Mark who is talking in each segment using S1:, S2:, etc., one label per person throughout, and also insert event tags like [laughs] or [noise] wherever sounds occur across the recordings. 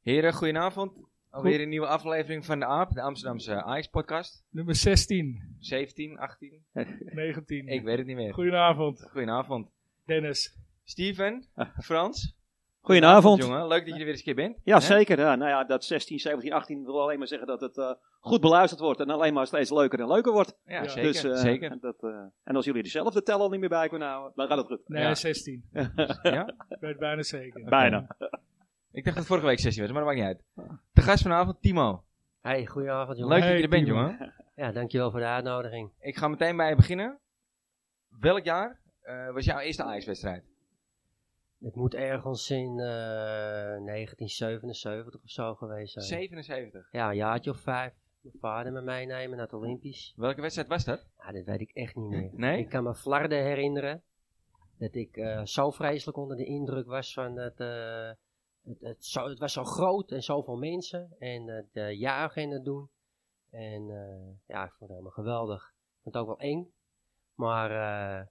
S1: Heren, goedenavond. Alweer een nieuwe aflevering van de AAP, de Amsterdamse Ajax-podcast.
S2: Nummer 16,
S1: 17, 18,
S2: 19.
S1: ik weet het niet meer.
S2: Goedenavond,
S1: Goedenavond.
S2: Dennis.
S1: Steven, Frans.
S3: Goedenavond.
S1: Jongen, leuk dat je er weer eens een keer bent.
S3: Ja,
S1: Hè?
S3: zeker. Ja, nou ja, dat 16, 17, 18 wil alleen maar zeggen dat het eh, goed beluisterd wordt. En alleen maar steeds leuker en leuker wordt.
S1: Ja,
S2: Ja.
S1: zeker.
S3: dus, eh,
S1: zeker.
S3: Dat, eh, en als jullie dezelfde tel al niet meer bij kunnen houden, dan gaat het goed.
S2: Nee,
S1: Ja.
S2: 16.
S1: Ja?
S2: Ik weet bijna zeker.
S3: Bijna.
S1: Ik dacht dat vorige week sessie was, maar dat maakt niet uit. De gast vanavond, Timo.
S4: Hey, goedenavond jongen.
S1: Leuk dat je
S2: Hey,
S1: er bent,
S2: Timo.
S1: jongen.
S4: Ja, dankjewel voor de uitnodiging.
S1: Ik ga meteen bij je beginnen. Welk jaar eh, was jouw eerste Ajax-wedstrijd?
S4: Het moet ergens in eh, 1977 of zo geweest zijn.
S1: 77.
S4: Ja, een jaartje of vijf. Mijn vader me meenemen naar het Olympisch.
S1: Welke wedstrijd was dat?
S4: Ja, dat weet ik echt niet meer.
S1: Nee?
S4: Ik kan me flarden herinneren dat ik eh, zo vreselijk onder de indruk was van het... eh, het, het, zo, het was zo groot en zoveel mensen en het eh, juichen en het doen. En eh, ja, ik vond het helemaal geweldig. Ik vond het ook wel eng. Maar eh,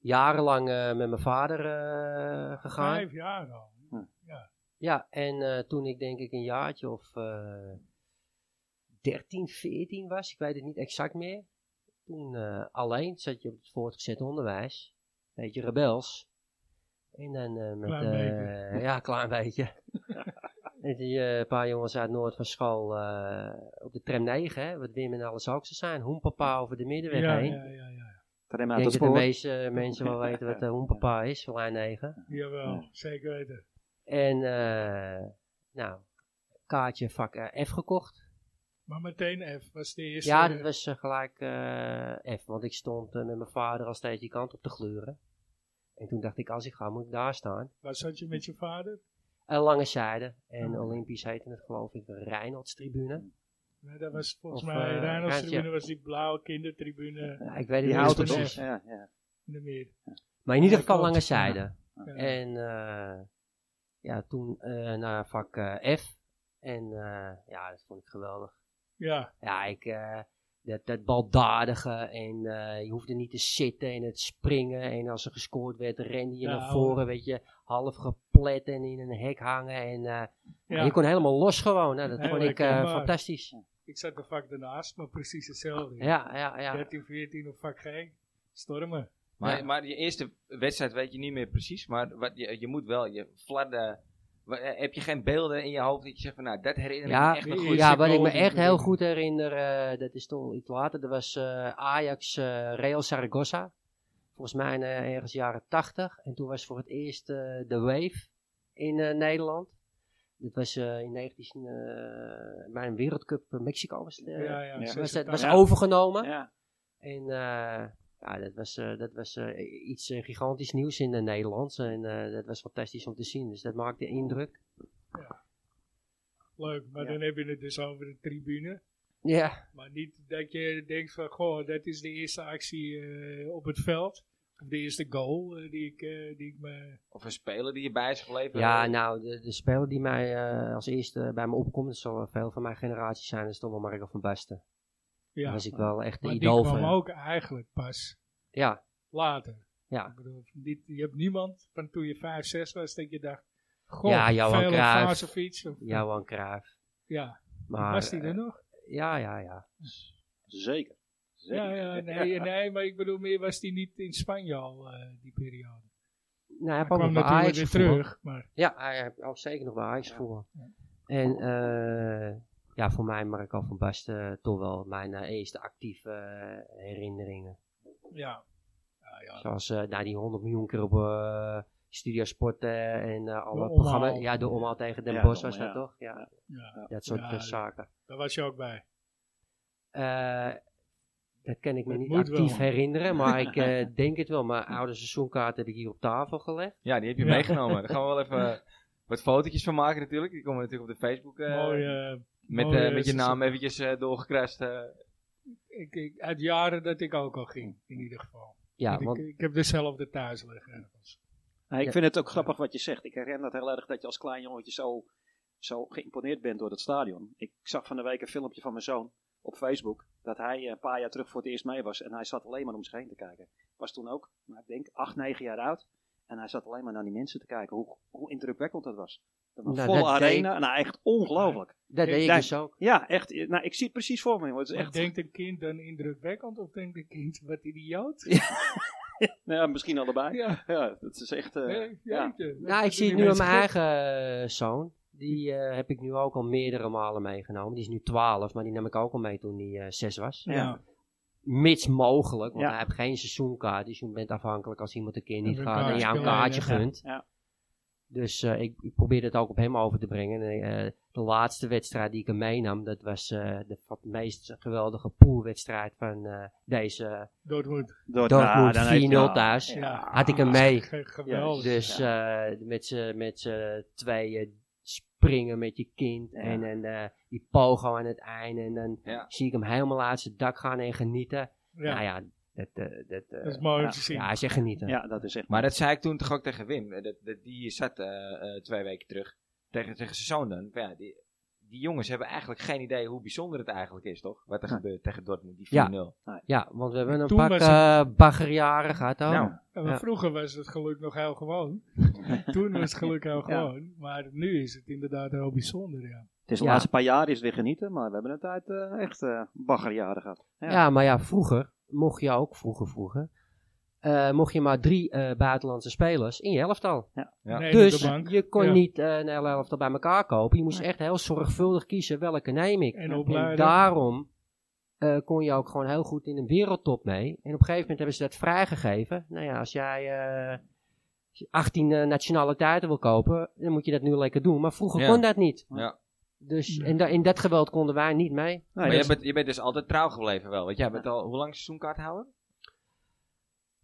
S4: jarenlang eh, met mijn vader eh, gegaan.
S2: Vijf jaar al.
S4: Ja, en eh, toen ik denk ik een jaartje of eh 13, 14 was, ik weet het niet exact meer. Toen eh, alleen zat je op het voortgezet onderwijs, een beetje rebels. En dan eh, met,
S2: Klein
S4: eh,
S2: beetje.
S4: ja, klein beetje. [laughs] en die eh, paar jongens uit Noord van school eh, op de tram 9, hè, wat Wim en alles ook zo zijn. Hoempapa over de middenweg
S2: ja,
S4: heen.
S2: ja, ja, ja.
S3: Trem uit
S4: Ik denk
S3: het
S4: dat de
S3: spoor.
S4: meeste eh, mensen wel weten wat eh, Hoempapa is, lijn 9.
S2: Jawel,
S3: Ja.
S2: zeker weten.
S4: En eh nou, kaartje vak eh, F gekocht.
S2: Maar meteen F was de eerste.
S4: Ja, dat was eh, gelijk eh, F, want ik stond eh, met mijn vader al steeds die kant op te gluren. En toen dacht ik, als ik ga, moet ik daar staan.
S2: Waar zat je met je vader?
S4: Een lange zijde. En
S2: Ja.
S4: Olympisch heette het geloof ik de Reinhardstribune.
S2: Nee, dat was volgens
S4: Of,
S2: mij,
S4: eh,
S2: Reynolds
S4: Rijntje.
S2: tribune was die blauwe kindertribune
S4: Ja, ik weet het
S3: Die
S4: niet
S3: houdt
S4: eens
S3: het
S4: precies.
S3: nog. Ja, ja.
S2: in de meer.
S4: Maar in ieder
S2: Ja,
S4: geval
S2: klopt.
S4: lange zijde.
S2: Ja.
S4: En eh, ja, toen eh, naar vak eh, F. En eh, ja, dat vond ik geweldig.
S2: Ja,
S4: Ja, ik, eh, dat, dat baldadige en eh, je hoefde niet te zitten en het springen. En als er gescoord werd, rende je
S2: Ja,
S4: naar
S2: ouwe.
S4: voren, weet je, half geplet en in een hek hangen. En eh,
S2: ja.
S4: je kon helemaal los gewoon. Nou, dat
S2: Heel
S4: vond ik
S2: lekker,
S4: eh,
S2: maar-
S4: fantastisch.
S2: ik zat de vak daarnaast, maar precies hetzelfde.
S4: Ja, ja, ja.
S2: 13, 14 op vak G. Stormen.
S1: Maar,
S4: Ja.
S1: maar je eerste wedstrijd weet je niet meer precies, maar wat je, je moet wel, je fladden. wa- eh, Heb je geen beelden in je hoofd dat je zegt van nou, dat herinner ik me
S4: Ja,
S1: echt
S2: die
S1: nog goed.
S2: is-
S4: Ja,
S2: ik
S4: wat ik
S2: wel
S4: me
S2: die
S4: echt heel
S2: bedoeling.
S4: goed herinner, eh, dat is toch iets later. Dat was eh, Ajax eh, Real Zaragoza. Volgens mij eh, ergens jaren 80. En toen was voor het eerst eh, de Wave in eh, Nederland. Dat was eh, in 19... eh, bij een wereldcup eh, Mexico was het. eh,
S2: Ja, ja.
S3: was
S4: was, dat-
S2: 86.
S4: was
S3: Ja.
S4: overgenomen.
S3: Ja.
S4: En eh, ja, dat was, eh, dat was eh, iets eh, gigantisch nieuws in de Nederlands. En eh, dat was fantastisch om te zien. Dus dat maakte indruk.
S2: Leuk, maar
S3: Ja.
S2: dan heb je het dus over de tribune.
S4: Ja,
S2: Maar niet dat je denkt van, goh, dat is de eerste actie eh, op het veld. Of de eerste goal eh, die, ik, eh, die ik me...
S1: Of een speler die je bij is gebleven.
S4: ja
S2: Eh,
S4: nou, de, de speler die mij eh, als eerste bij me opkomt, dat zal wel veel van mijn generatie zijn, dat is toch wel Marco van Basten.
S2: Ja,
S4: Daar was ik wel echt de
S2: maar die
S4: idool
S2: kwam
S4: van.
S2: ook eigenlijk pas
S4: Ja,
S2: later.
S4: Ja.
S2: Ik bedoel, niet, je hebt niemand van toen je 5, 6 was dat je dacht, goh,
S4: Ja, Johan
S2: veel
S4: Cruijff.
S2: op fiets. Of,
S4: Johan Cruijff.
S2: ja.
S4: Maar,
S2: was die er
S4: eh,
S2: nog?
S4: ja, ja, ja.
S3: Zeker. Zeker.
S2: Ja,
S4: [laughs]
S2: ja nee, nee, maar ik bedoel meer was die niet in Spanje al, eh, die periode.
S4: Nou, hij
S2: Hij
S4: kwam
S2: kwam
S4: ook bij
S2: natuurlijk
S4: Ajax
S2: weer
S4: terug.
S2: terug, maar
S4: Ja, hij heeft ook zeker nog bij Ajax
S3: Ja.
S4: voor. En eh, ja, voor mij Marco van Basten toch wel mijn eh, eerste actieve eh, herinneringen.
S2: ja. Ja, ja.
S4: Zoals eh nou, die 100 miljoen keer op eh Studio Sport eh, en eh, alle
S2: omhaal.
S4: programma's. Ja, de omhaal tegen Den
S3: Ja,
S4: Bosch
S3: de
S4: was dat
S3: omhaal,
S4: toch? Ja,
S2: ja.
S4: dat soort
S2: Ja,
S4: eh, zaken.
S2: Daar was je ook bij.
S4: Eh dat kan ik me
S2: Het
S4: niet
S2: moet
S4: actief
S2: wel. [laughs]
S4: herinneren, maar ik eh, denk het wel. Mijn oude seizoenkaart heb ik hier op tafel gelegd.
S1: Ja, die heb je
S2: Ja.
S1: meegenomen. Daar gaan we wel even
S4: [laughs]
S1: eh, wat fotootjes van maken natuurlijk. Die komen natuurlijk op de Facebook. eh,
S2: Mooi, eh,
S1: met, eh,
S2: mooie
S1: met je naam
S2: seizoen.
S1: eventjes eh doorgekrast. eh.
S2: ik, ik, uit jaren dat ik ook al ging, in ieder geval.
S4: Ja,
S2: Want
S4: want
S2: ik, eh, ik heb dezelfde thuis liggen. ergens.
S3: Nou, ik
S4: Ja.
S3: vind het ook grappig wat je zegt. Ik herinner het heel erg dat je als klein jongetje zo, zo geïmponeerd bent door het stadion. Ik zag van de week een filmpje van mijn zoon op Facebook. Dat hij eh, een paar jaar terug voor het eerst mee was. En hij zat alleen maar om zich heen te kijken. Ik Was toen ook, nou, ik denk, acht, negen jaar oud. En hij zat alleen maar naar die mensen te kijken. Hoe, hoe indrukwekkend dat was. Een
S4: Nou,
S3: volle
S4: dat
S3: arena. Nou, echt ongelooflijk.
S4: Dat
S2: Ik
S4: deed ik
S3: denk-
S4: dus ook.
S3: Ja, echt. eh, Nou, ik zie het precies voor me. jongen. Het is
S2: Maar
S3: echt,
S2: denkt een kind dan indrukwekkend of denkt een kind wat idioot?
S3: nou, ja, misschien allebei. Ja.
S2: [laughs] Ja,
S3: dat is echt... eh,
S2: nee,
S3: ja.
S2: jeetje.
S4: Nou, ik zie het
S2: Die
S4: nu aan
S2: mensen
S4: mijn
S2: gek.
S4: eigen eh, zoon. Die eh, heb ik nu ook al meerdere malen meegenomen. Die is nu 12, maar die nam ik ook al mee toen hij eh 6 was.
S3: Ja.
S2: Ja,
S4: Mits mogelijk, want
S3: Ja.
S4: hij heeft geen seizoenkaart. Dus je bent afhankelijk als iemand een keer niet
S2: Even een
S4: gaat en
S2: kaartje
S4: jou een
S2: spelen,
S4: kaartje
S2: ja.
S4: gunt.
S3: Ja.
S4: Dus eh, ik, ik probeer het ook op hem over te brengen. En, eh, de laatste wedstrijd die ik hem meenam, dat was eh, de wat meest geweldige poolwedstrijd van eh, deze.
S2: Dortmund.
S3: Door, nou,
S4: Dortmund
S3: dan heeft-
S4: 4-0
S3: ja.
S4: thuis.
S2: Ja.
S4: Had ik hem mee.
S2: Ge- Geweldig.
S4: Dus eh, met z'n met z'n tweeën springen met je kind.
S3: Ja.
S4: En, en eh, die pogo aan het einde. En dan
S1: Ja.
S4: zie ik hem helemaal uit zijn dak gaan en genieten.
S2: Ja,
S4: Nou ja, dat, eh, dat, eh,
S2: dat is mooi om
S3: ja.
S2: te zien.
S4: ja, hij zegt genieten.
S3: Ja, dat is echt...
S1: Maar dat zei ik toen toch ook tegen Wim. eh, Dat, dat die zat eh, eh, twee weken terug tegen, tegen zijn zoon dan. Van Ja, die, die jongens hebben eigenlijk geen idee hoe bijzonder het eigenlijk is, toch? Wat er
S3: Ja.
S1: gebeurt tegen Dortmund, die 4-0.
S4: Ja. Ja, want we hebben een
S2: Toen
S4: pak
S2: was
S4: eh baggerjaren gehad ook.
S1: Nou,
S2: Ja, maar
S4: Ja.
S2: Vroeger was het geluk nog heel gewoon. Toen was het geluk heel gewoon. Maar nu is het inderdaad heel bijzonder, ja.
S3: Het is de
S4: Ja.
S3: laatste paar jaar is het weer genieten, maar we hebben het uit eh, echt eh baggerjaren gehad.
S4: ja. maar ja, vroeger mocht je ook, vroeger vroeger, eh, mocht je maar drie eh, buitenlandse spelers in je elftal.
S1: Ja.
S2: Nee,
S4: Dus
S2: op de bank.
S4: je kon
S2: Ja.
S4: niet eh, een hele elftal bij elkaar kopen. Je moest echt heel zorgvullig kiezen welke neem ik.
S2: En
S4: En
S2: opleiden.
S4: daarom eh, kon je ook gewoon heel goed in een wereldtop mee. En op een gegeven moment hebben ze dat vrijgegeven. Nou ja, als jij eh 18 eh, nationaliteiten wil kopen, dan moet je dat nu lekker doen. Maar vroeger
S1: Ja.
S4: kon dat niet.
S1: Ja.
S4: Dus
S2: Nee.
S4: en da- in dat geweld konden wij niet mee.
S1: maar
S3: Nou, dat
S1: je
S3: is-
S1: bent, je bent dus altijd trouw gebleven wel. Want jij bent al, hoe lang seizoenkaart houden?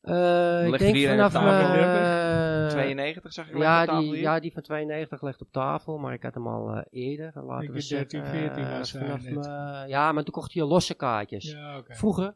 S4: Eh, ik
S1: Ligt
S4: denk
S1: hier een
S4: vanaf...
S1: tafel,
S4: eh,
S1: 92 zag ik
S4: ja,
S1: op de tafel
S4: die,
S1: hier.
S4: ja, die van 92 ligt op tafel, maar ik had hem al eh, eerder. Laten
S2: Ik
S4: we
S2: denk 13,
S4: zeggen,
S2: 14
S4: eh,
S2: was hij
S4: vanaf
S2: net.
S4: mijn- Ja, maar toen kocht je losse kaartjes.
S2: Ja, oké.
S4: Vroeger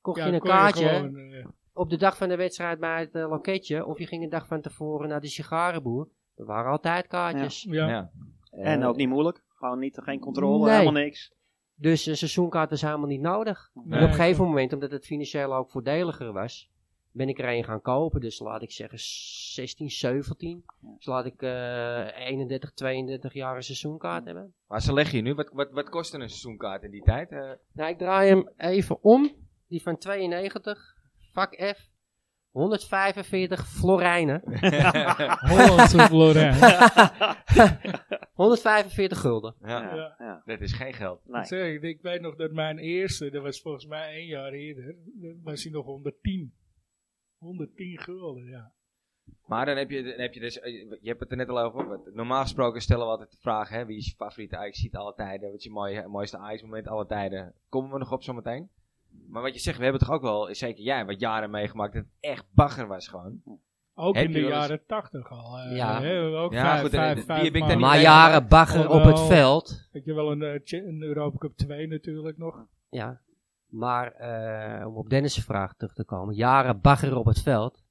S4: kocht
S2: Ja,
S4: je een
S2: kon
S4: kaartje...
S2: gewoon, eh,
S4: op de dag van de wedstrijd bij het eh, loketje. Of je ging een dag van tevoren naar de sigarenboer. Er waren altijd kaartjes.
S2: ja.
S1: Ja.
S4: Eh,
S3: En ook niet moeilijk. Gewoon niet, geen controle,
S4: Nee.
S3: helemaal niks.
S4: Dus een seizoenkaart was helemaal niet nodig.
S2: Nee,
S4: en op een gegeven moment, omdat het financieel ook voordeliger was, ben ik er een gaan kopen. Dus laat ik zeggen 16, 17. Dus laat ik eh 31, 32 jaar een seizoenkaart hebben.
S1: Maar ze leggen je nu, wat, wat, wat kostte een seizoenkaart in die tijd? Eh,
S4: Nou, ik draai hem even om. Die van 92, vak F. 145 florijnen.
S2: Hollandse Florijn.
S4: 145 gulden.
S1: ja,
S3: Ja, ja.
S1: dat is geen geld.
S3: Nee.
S2: Zeg, ik, ik weet nog dat mijn eerste, dat was volgens mij één jaar eerder, dat was hij nog 110. 110 gulden, ja.
S1: Maar dan heb je, dan heb je dus, eh, je hebt het er net al over. want normaal gesproken stellen we altijd de vraag, hè, wie is je favoriete ajax ziet alle tijden? Wat is je mooie, mooiste ajax moment alle tijden? Komen we nog op zometeen? Maar wat je zegt, we hebben toch ook wel, zeker jij, wat jaren meegemaakt dat het echt bagger was gewoon.
S2: Ook
S1: Heb
S2: in
S1: je
S2: de
S1: wel eens-
S2: jaren 80 al. eh,
S4: Ja.
S2: hè, we ook
S1: Ja,
S2: vijf,
S1: goed, en
S2: vijf,
S1: die
S2: vijf
S1: heb ik dan
S2: maanden.
S1: niet
S4: Maar
S1: mee-
S4: jaren bagger op
S1: Oh.
S4: het
S2: Alhoewel-
S4: veld.
S2: Weet je wel, een, eh, cha- een Europa Cup 2 natuurlijk nog.
S4: Ja. Maar eh, om op Dennis' vraag terug te komen. Jaren bagger op het veld.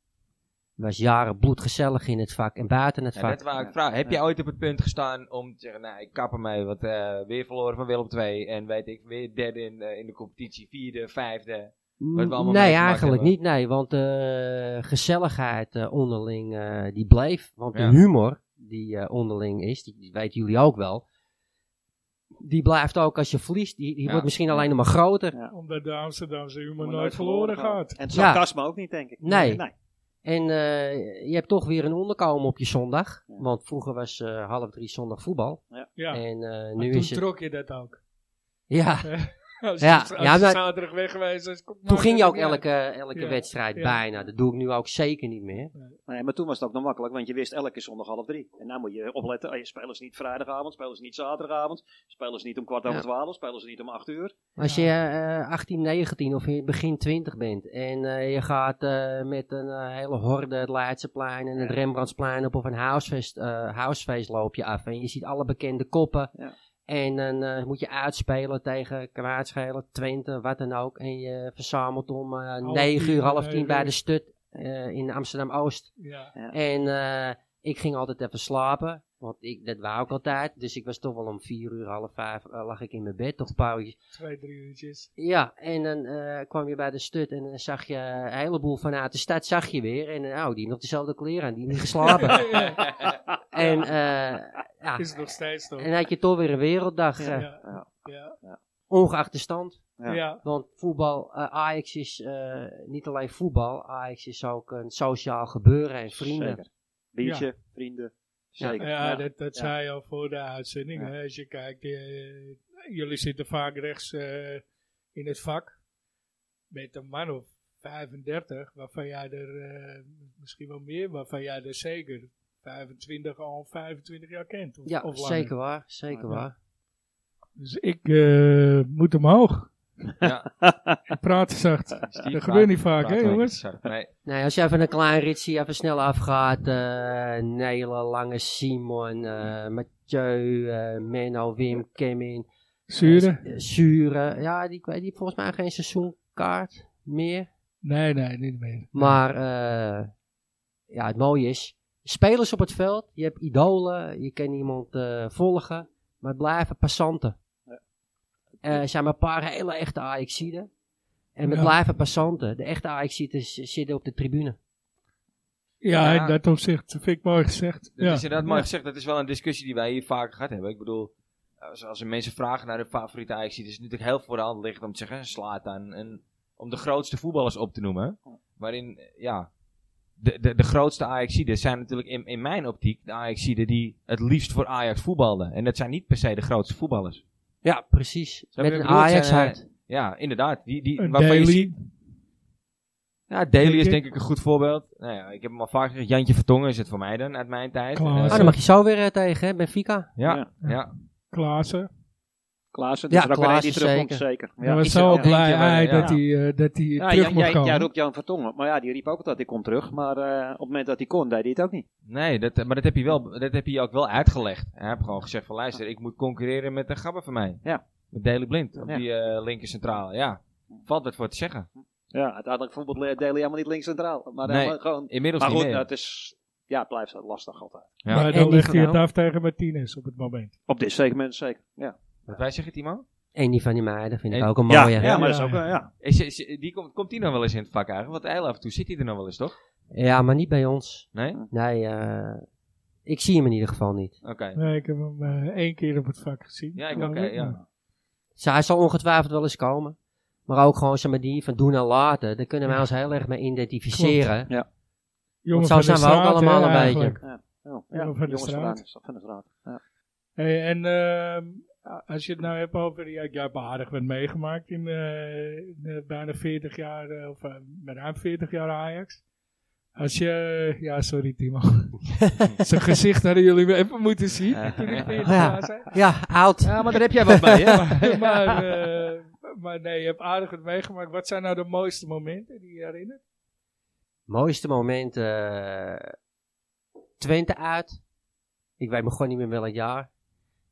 S4: Was jaren bloedgezellig in het vak en buiten het
S1: Ja,
S4: vak.
S1: dat wou ik vragen. Heb jij ooit op het punt gestaan om te zeggen, nou ik kap ermee, want eh, weer verloren van Willem 2 en weet ik, weer derde in, eh, in de competitie, vierde, vijfde. we allemaal
S4: nee,
S1: meegemaakt
S4: eigenlijk
S1: hebben.
S4: niet. Nee, want de gezelligheid eh, onderling eh, die bleef. Want
S1: Ja.
S4: de humor die eh, onderling is, die, die weten jullie ook wel. Die blijft ook als je verliest. Die, die
S1: Ja.
S4: wordt misschien alleen nog maar groter.
S2: Omdat de Amsterdamse humor
S3: Maar
S2: nooit, verloren gaat.
S3: En het
S4: Ja.
S3: sarcasme ook niet, denk ik.
S4: Nee.
S3: nee.
S4: En eh, je hebt toch weer een onderkomen op je zondag.
S3: Ja.
S4: Want vroeger was eh, half drie zondag voetbal.
S2: Ja.
S4: En eh,
S2: Maar
S4: nu
S2: toen
S4: is het...
S2: trok je dat ook. [laughs]
S4: Ja.
S2: Als
S4: Ja,
S2: ja, je, als
S4: ja,
S2: je
S4: maar-
S2: zaterdag weg geweest was, kom-
S4: Toen
S2: maakt
S4: ging je
S2: het
S4: ook
S2: niet uit.
S4: elke, elke
S2: Ja.
S4: wedstrijd
S2: Ja.
S4: bijna. Dat doe ik nu ook zeker niet meer.
S3: Nee, maar toen was het ook nog makkelijk, want je wist elke keer zondag half drie. En nou moet je opletten, oh, je spelen ze niet vrijdagavond, spelen ze niet zaterdagavond, spelen ze niet om kwart over
S4: Ja.
S3: twaalf, spelen ze niet om acht uur.
S4: Als je eh 18, 19 of je begin 20 bent en eh, je gaat eh, met een eh, hele horde het Leidseplein en het Rembrandtsplein op of een housefest, eh, housefeest loop je af en je ziet alle bekende koppen.
S3: Ja.
S4: En dan eh, moet je uitspelen tegen kwaadschelen, Twente, wat dan ook. En je verzamelt om eh,
S2: Half
S4: 9 uur,
S2: tien,
S4: half
S2: negen
S4: 10 bij
S2: uur.
S4: de Stut eh, in Amsterdam-Oost.
S2: Ja.
S4: En eh, ik ging altijd even slapen. Want ik, dat wou ik altijd. Dus ik was toch wel om vier uur, half vijf, eh, lag ik in mijn bed, toch een paar uurtjes.
S2: Twee, drie uurtjes.
S4: Ja, en dan eh, kwam je bij de stut en dan zag je een heleboel vanuit de stad zag je weer. En eh, oh, die heeft nog dezelfde kleren aan, die heeft niet
S2: [laughs]
S4: geslapen. en eh, ja,
S2: Is het nog steeds toch?
S4: en had je toch weer een werelddag,
S3: Ja.
S4: eh,
S2: Ja.
S3: Ja.
S2: Ja.
S4: ongeacht de stand.
S3: Ja.
S2: Ja.
S4: Want voetbal, eh, Ajax is eh, niet alleen voetbal, Ajax is ook een sociaal gebeuren en vrienden.
S3: Zeker. Biertje, vrienden. Zeker.
S2: Ja, dat, dat
S3: Ja.
S2: zei je al voor de uitzending.
S3: Ja.
S2: hè. Als je kijkt, eh, jullie zitten vaak rechts eh, in het vak. Met een man of 35, waarvan jij er eh, misschien wel meer, waarvan jij er zeker 25 al 25 jaar kent. Of,
S4: Ja,
S2: of langer.
S4: zeker waar, zeker
S3: Ja.
S4: waar.
S2: Dus ik eh, moet omhoog.
S1: Ja.
S2: [laughs] Ik
S1: [laughs]
S2: praat zacht.
S1: Steve,
S2: Dat
S1: praat-
S2: gebeurt niet vaak,
S1: praat
S2: hè
S1: wel.
S2: jongens?
S1: Nee,
S4: Nee, als je even een klein ritsie even snel afgaat, eh Nela, Lange, Simon, eh, Mathieu, eh, Menno, Wim, Kemin,
S2: Zuren?
S4: Eh, Zure. Ja, die, die heeft volgens mij geen seizoenkaart meer.
S2: Nee, nee, niet meer.
S4: Maar eh, ja, het mooie is, spelers op het veld, je hebt idolen, je kan iemand eh, volgen, maar het blijven passanten. Eh, er zijn maar een paar hele echte Ajaxiden. En het
S2: Ja.
S4: blijven passanten. De echte Ajaxiden z- zitten op de tribune.
S2: Ja,
S1: Ja.
S2: in dat opzicht vind ik mooi gezegd.
S1: Dat
S2: ja.
S1: is inderdaad mooi gezegd. Dat is wel een discussie die wij hier vaker gehad hebben. Ik bedoel, als, als er mensen vragen naar hun favoriete ajax is het natuurlijk heel voor de hand ligt om te zeggen, slaat aan. En om de grootste voetballers op te noemen. Waarin, eh, ja, de, de, de grootste Ajaxiden zijn natuurlijk in, in mijn optiek de Ajaxiden die het liefst voor Ajax voetbalden. En dat zijn niet per se de grootste voetballers.
S4: Ja, precies.
S1: je wat
S4: Met een
S1: ik bedoel? Het
S4: Ajax
S1: zijn,
S4: hart.
S1: Ja, inderdaad. Die, die,
S2: Een
S1: waarvan je ziet-
S2: daily.
S1: ja, Daly
S2: Denk
S1: is
S2: ik.
S1: denk ik een goed voorbeeld. Nou ja, ik heb hem al vaak gezegd. Jantje Vertongen is het voor mij dan, uit mijn tijd.
S2: Klaassen.
S1: Eh,
S4: Ah, dan mag je zo weer eh, tegen, hè, Benfica.
S1: ja, ja,
S2: Klaassen.
S3: Klaassen,
S4: Ja,
S3: dus er ook weer een die
S4: Klaassen,
S3: terugkomt, zeker.
S2: ik was
S1: is
S2: zo
S1: er
S2: al
S1: ook
S2: blij
S1: eentje waar-
S2: hij
S1: ja.
S2: dat hij, eh, dat hij
S3: Ja,
S2: terug
S3: jij,
S2: mocht
S3: jij,
S2: komen.
S3: jij roept Jan Vertongen, maar ja, die riep ook altijd, ik kom terug. Maar eh, op het moment dat hij kon, deed hij het ook niet.
S1: Nee, dat, eh, maar dat heb, je wel, dat heb je ook wel uitgelegd. Hij heeft gewoon gezegd van luister, ik moet concurreren met een gabber van mij.
S3: Ja.
S1: Met Daley Blind op
S3: Ja.
S1: die eh, linker centrale. Ja, valt wat voor te zeggen.
S3: Ja, uiteindelijk vond Dele helemaal niet links centraal. Maar,
S1: Nee.
S3: helemaal gewoon,
S1: Inmiddels
S3: maar
S1: niet
S3: goed,
S1: meer.
S3: dat is, ja, het blijft lastig altijd.
S1: Ja.
S2: Maar
S4: En
S2: dan
S4: die
S2: legt hij
S4: vrouw.
S2: het af tegen Martinez op het moment.
S3: Op dit segment zeker, ja.
S1: Wat wij zeggen, Timo?
S4: En die van die meiden vind ik
S1: En-
S4: ook een mooie.
S3: ja,
S4: Ja,
S3: maar dat is ook, eh, ja.
S1: Is, is- die komt, komt die nou wel eens in het vak eigenlijk? Want heel af en toe zit hij er nog wel eens, toch?
S4: maar niet bij ons.
S1: Nee?
S4: Nee, eh, ik zie hem in ieder geval niet.
S1: Oké.
S2: Nee, ik heb hem eh, één keer op het vak gezien. Eh,
S1: Ja, ik
S2: geloof
S1: ook, hè, ja.
S4: Zij hij zal ongetwijfeld wel eens komen. Maar ook gewoon zeg maar, die van doen en laten. Daar kunnen wij
S2: Ja.
S4: ons heel erg mee identificeren.
S2: Jongen
S4: Want
S2: van
S4: zo
S2: de
S4: zijn we ook
S2: straat, hè,
S4: allemaal een beetje.
S2: eigenlijk.
S3: Oh,
S2: Ja, van de
S3: jongens
S2: straat.
S3: van de- van de straat. Ja.
S2: Hey, en ehm, als je het nou hebt over, ja, jij hebt aardig wat meegemaakt in, eh, in, eh, bijna 40 jaar, eh, of eh, met ruim 40 jaar Ajax. Als je, ja sorry
S4: [laughs]
S2: Timo, zijn gezicht hadden jullie weer even moeten
S1: [laughs]
S2: zien toen ik 40 jaar zei.
S4: Ja, oud.
S1: Ja, maar daar heb jij wat bij, hè?
S2: [laughs] maar, eh, maar nee, je hebt aardig wat meegemaakt. Wat zijn nou de mooiste momenten die je herinnert?
S4: [laughs] Mooiste moment. eh, Twente uit. Ik weet me gewoon niet meer welk jaar.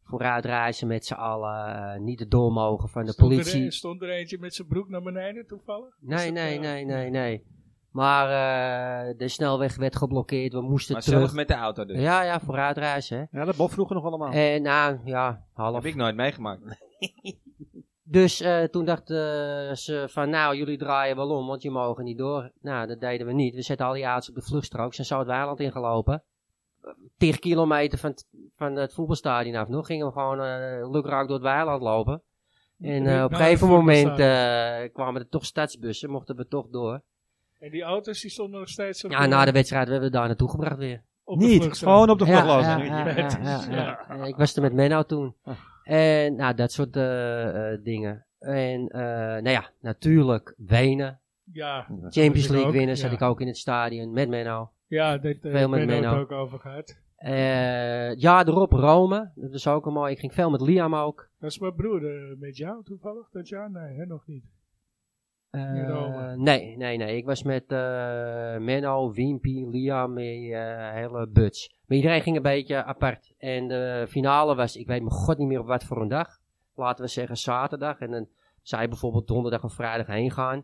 S4: Vooruit reizen met z'n allen. eh, niet de door mogen van de
S2: Stond er
S4: politie.
S2: een- stond er eentje met zijn broek naar beneden toevallig? Was
S4: Nee,
S2: dat,
S4: nee,
S2: eh,
S4: nee, nee, nee. Maar eh, de snelweg werd geblokkeerd. We moesten
S1: Maar
S4: terug.
S1: zelf met de auto dus.
S4: Ja, ja, vooruit reizen. Hè.
S3: ja, dat bof vroeger nog allemaal.
S4: En nou, ja, half.
S1: Oh. heb ik nooit meegemaakt.
S4: Dus eh, toen dachten ze van, nou, jullie draaien wel om, want je mogen niet door. Nou, dat deden we niet. We zetten al die aards op de vluchtstrook. Zijn zo het weiland ingelopen. Tig kilometer van, t- van het voetbalstadion af nog. Gingen we gewoon eh lukraak door het weiland lopen. En eh,
S2: Nou,
S4: op een
S2: dat
S4: gegeven moment
S2: voetbalstadion.
S4: eh, kwamen er toch stadsbussen. Mochten we toch door.
S2: En die auto's die stonden nog steeds op
S4: Ja, na de wedstrijd werden we daar naartoe gebracht weer.
S2: op
S3: Niet,
S2: vluchtstrook.
S3: gewoon op de
S4: Ja,
S3: vlagloos.
S4: ja, ja, ja, ja, ja.
S2: Ja.
S4: Ik was er met Menno toen.
S2: Ah.
S4: En nou, dat soort eh, eh, dingen. En eh, nou ja, natuurlijk Wenen.
S2: [laughs] Ja,
S4: Champions
S2: ik
S4: League
S2: ook,
S4: winnen zat
S2: ja.
S4: ik ook in het stadion met Menno.
S2: ja daar uh,
S4: Veel met
S2: ben
S4: Menno.
S2: het ook over gehad.
S4: Eh ja, erop Rome. Dat is ook een mooi. Ik ging veel met Liam ook.
S2: Dat is mijn broer eh, met jou toevallig dat jaar? Nee, hè, nog
S4: [laughs]
S2: niet.
S4: Eh,
S2: In Rome.
S4: nee, nee, nee. Ik was met eh, Menno, Wimpy, Liam, eh hele buts. Maar iedereen ging een beetje apart. En de finale was, ik weet mijn god niet meer op wat voor een dag. Laten we zeggen zaterdag. En dan zou je bijvoorbeeld donderdag of vrijdag heen gaan.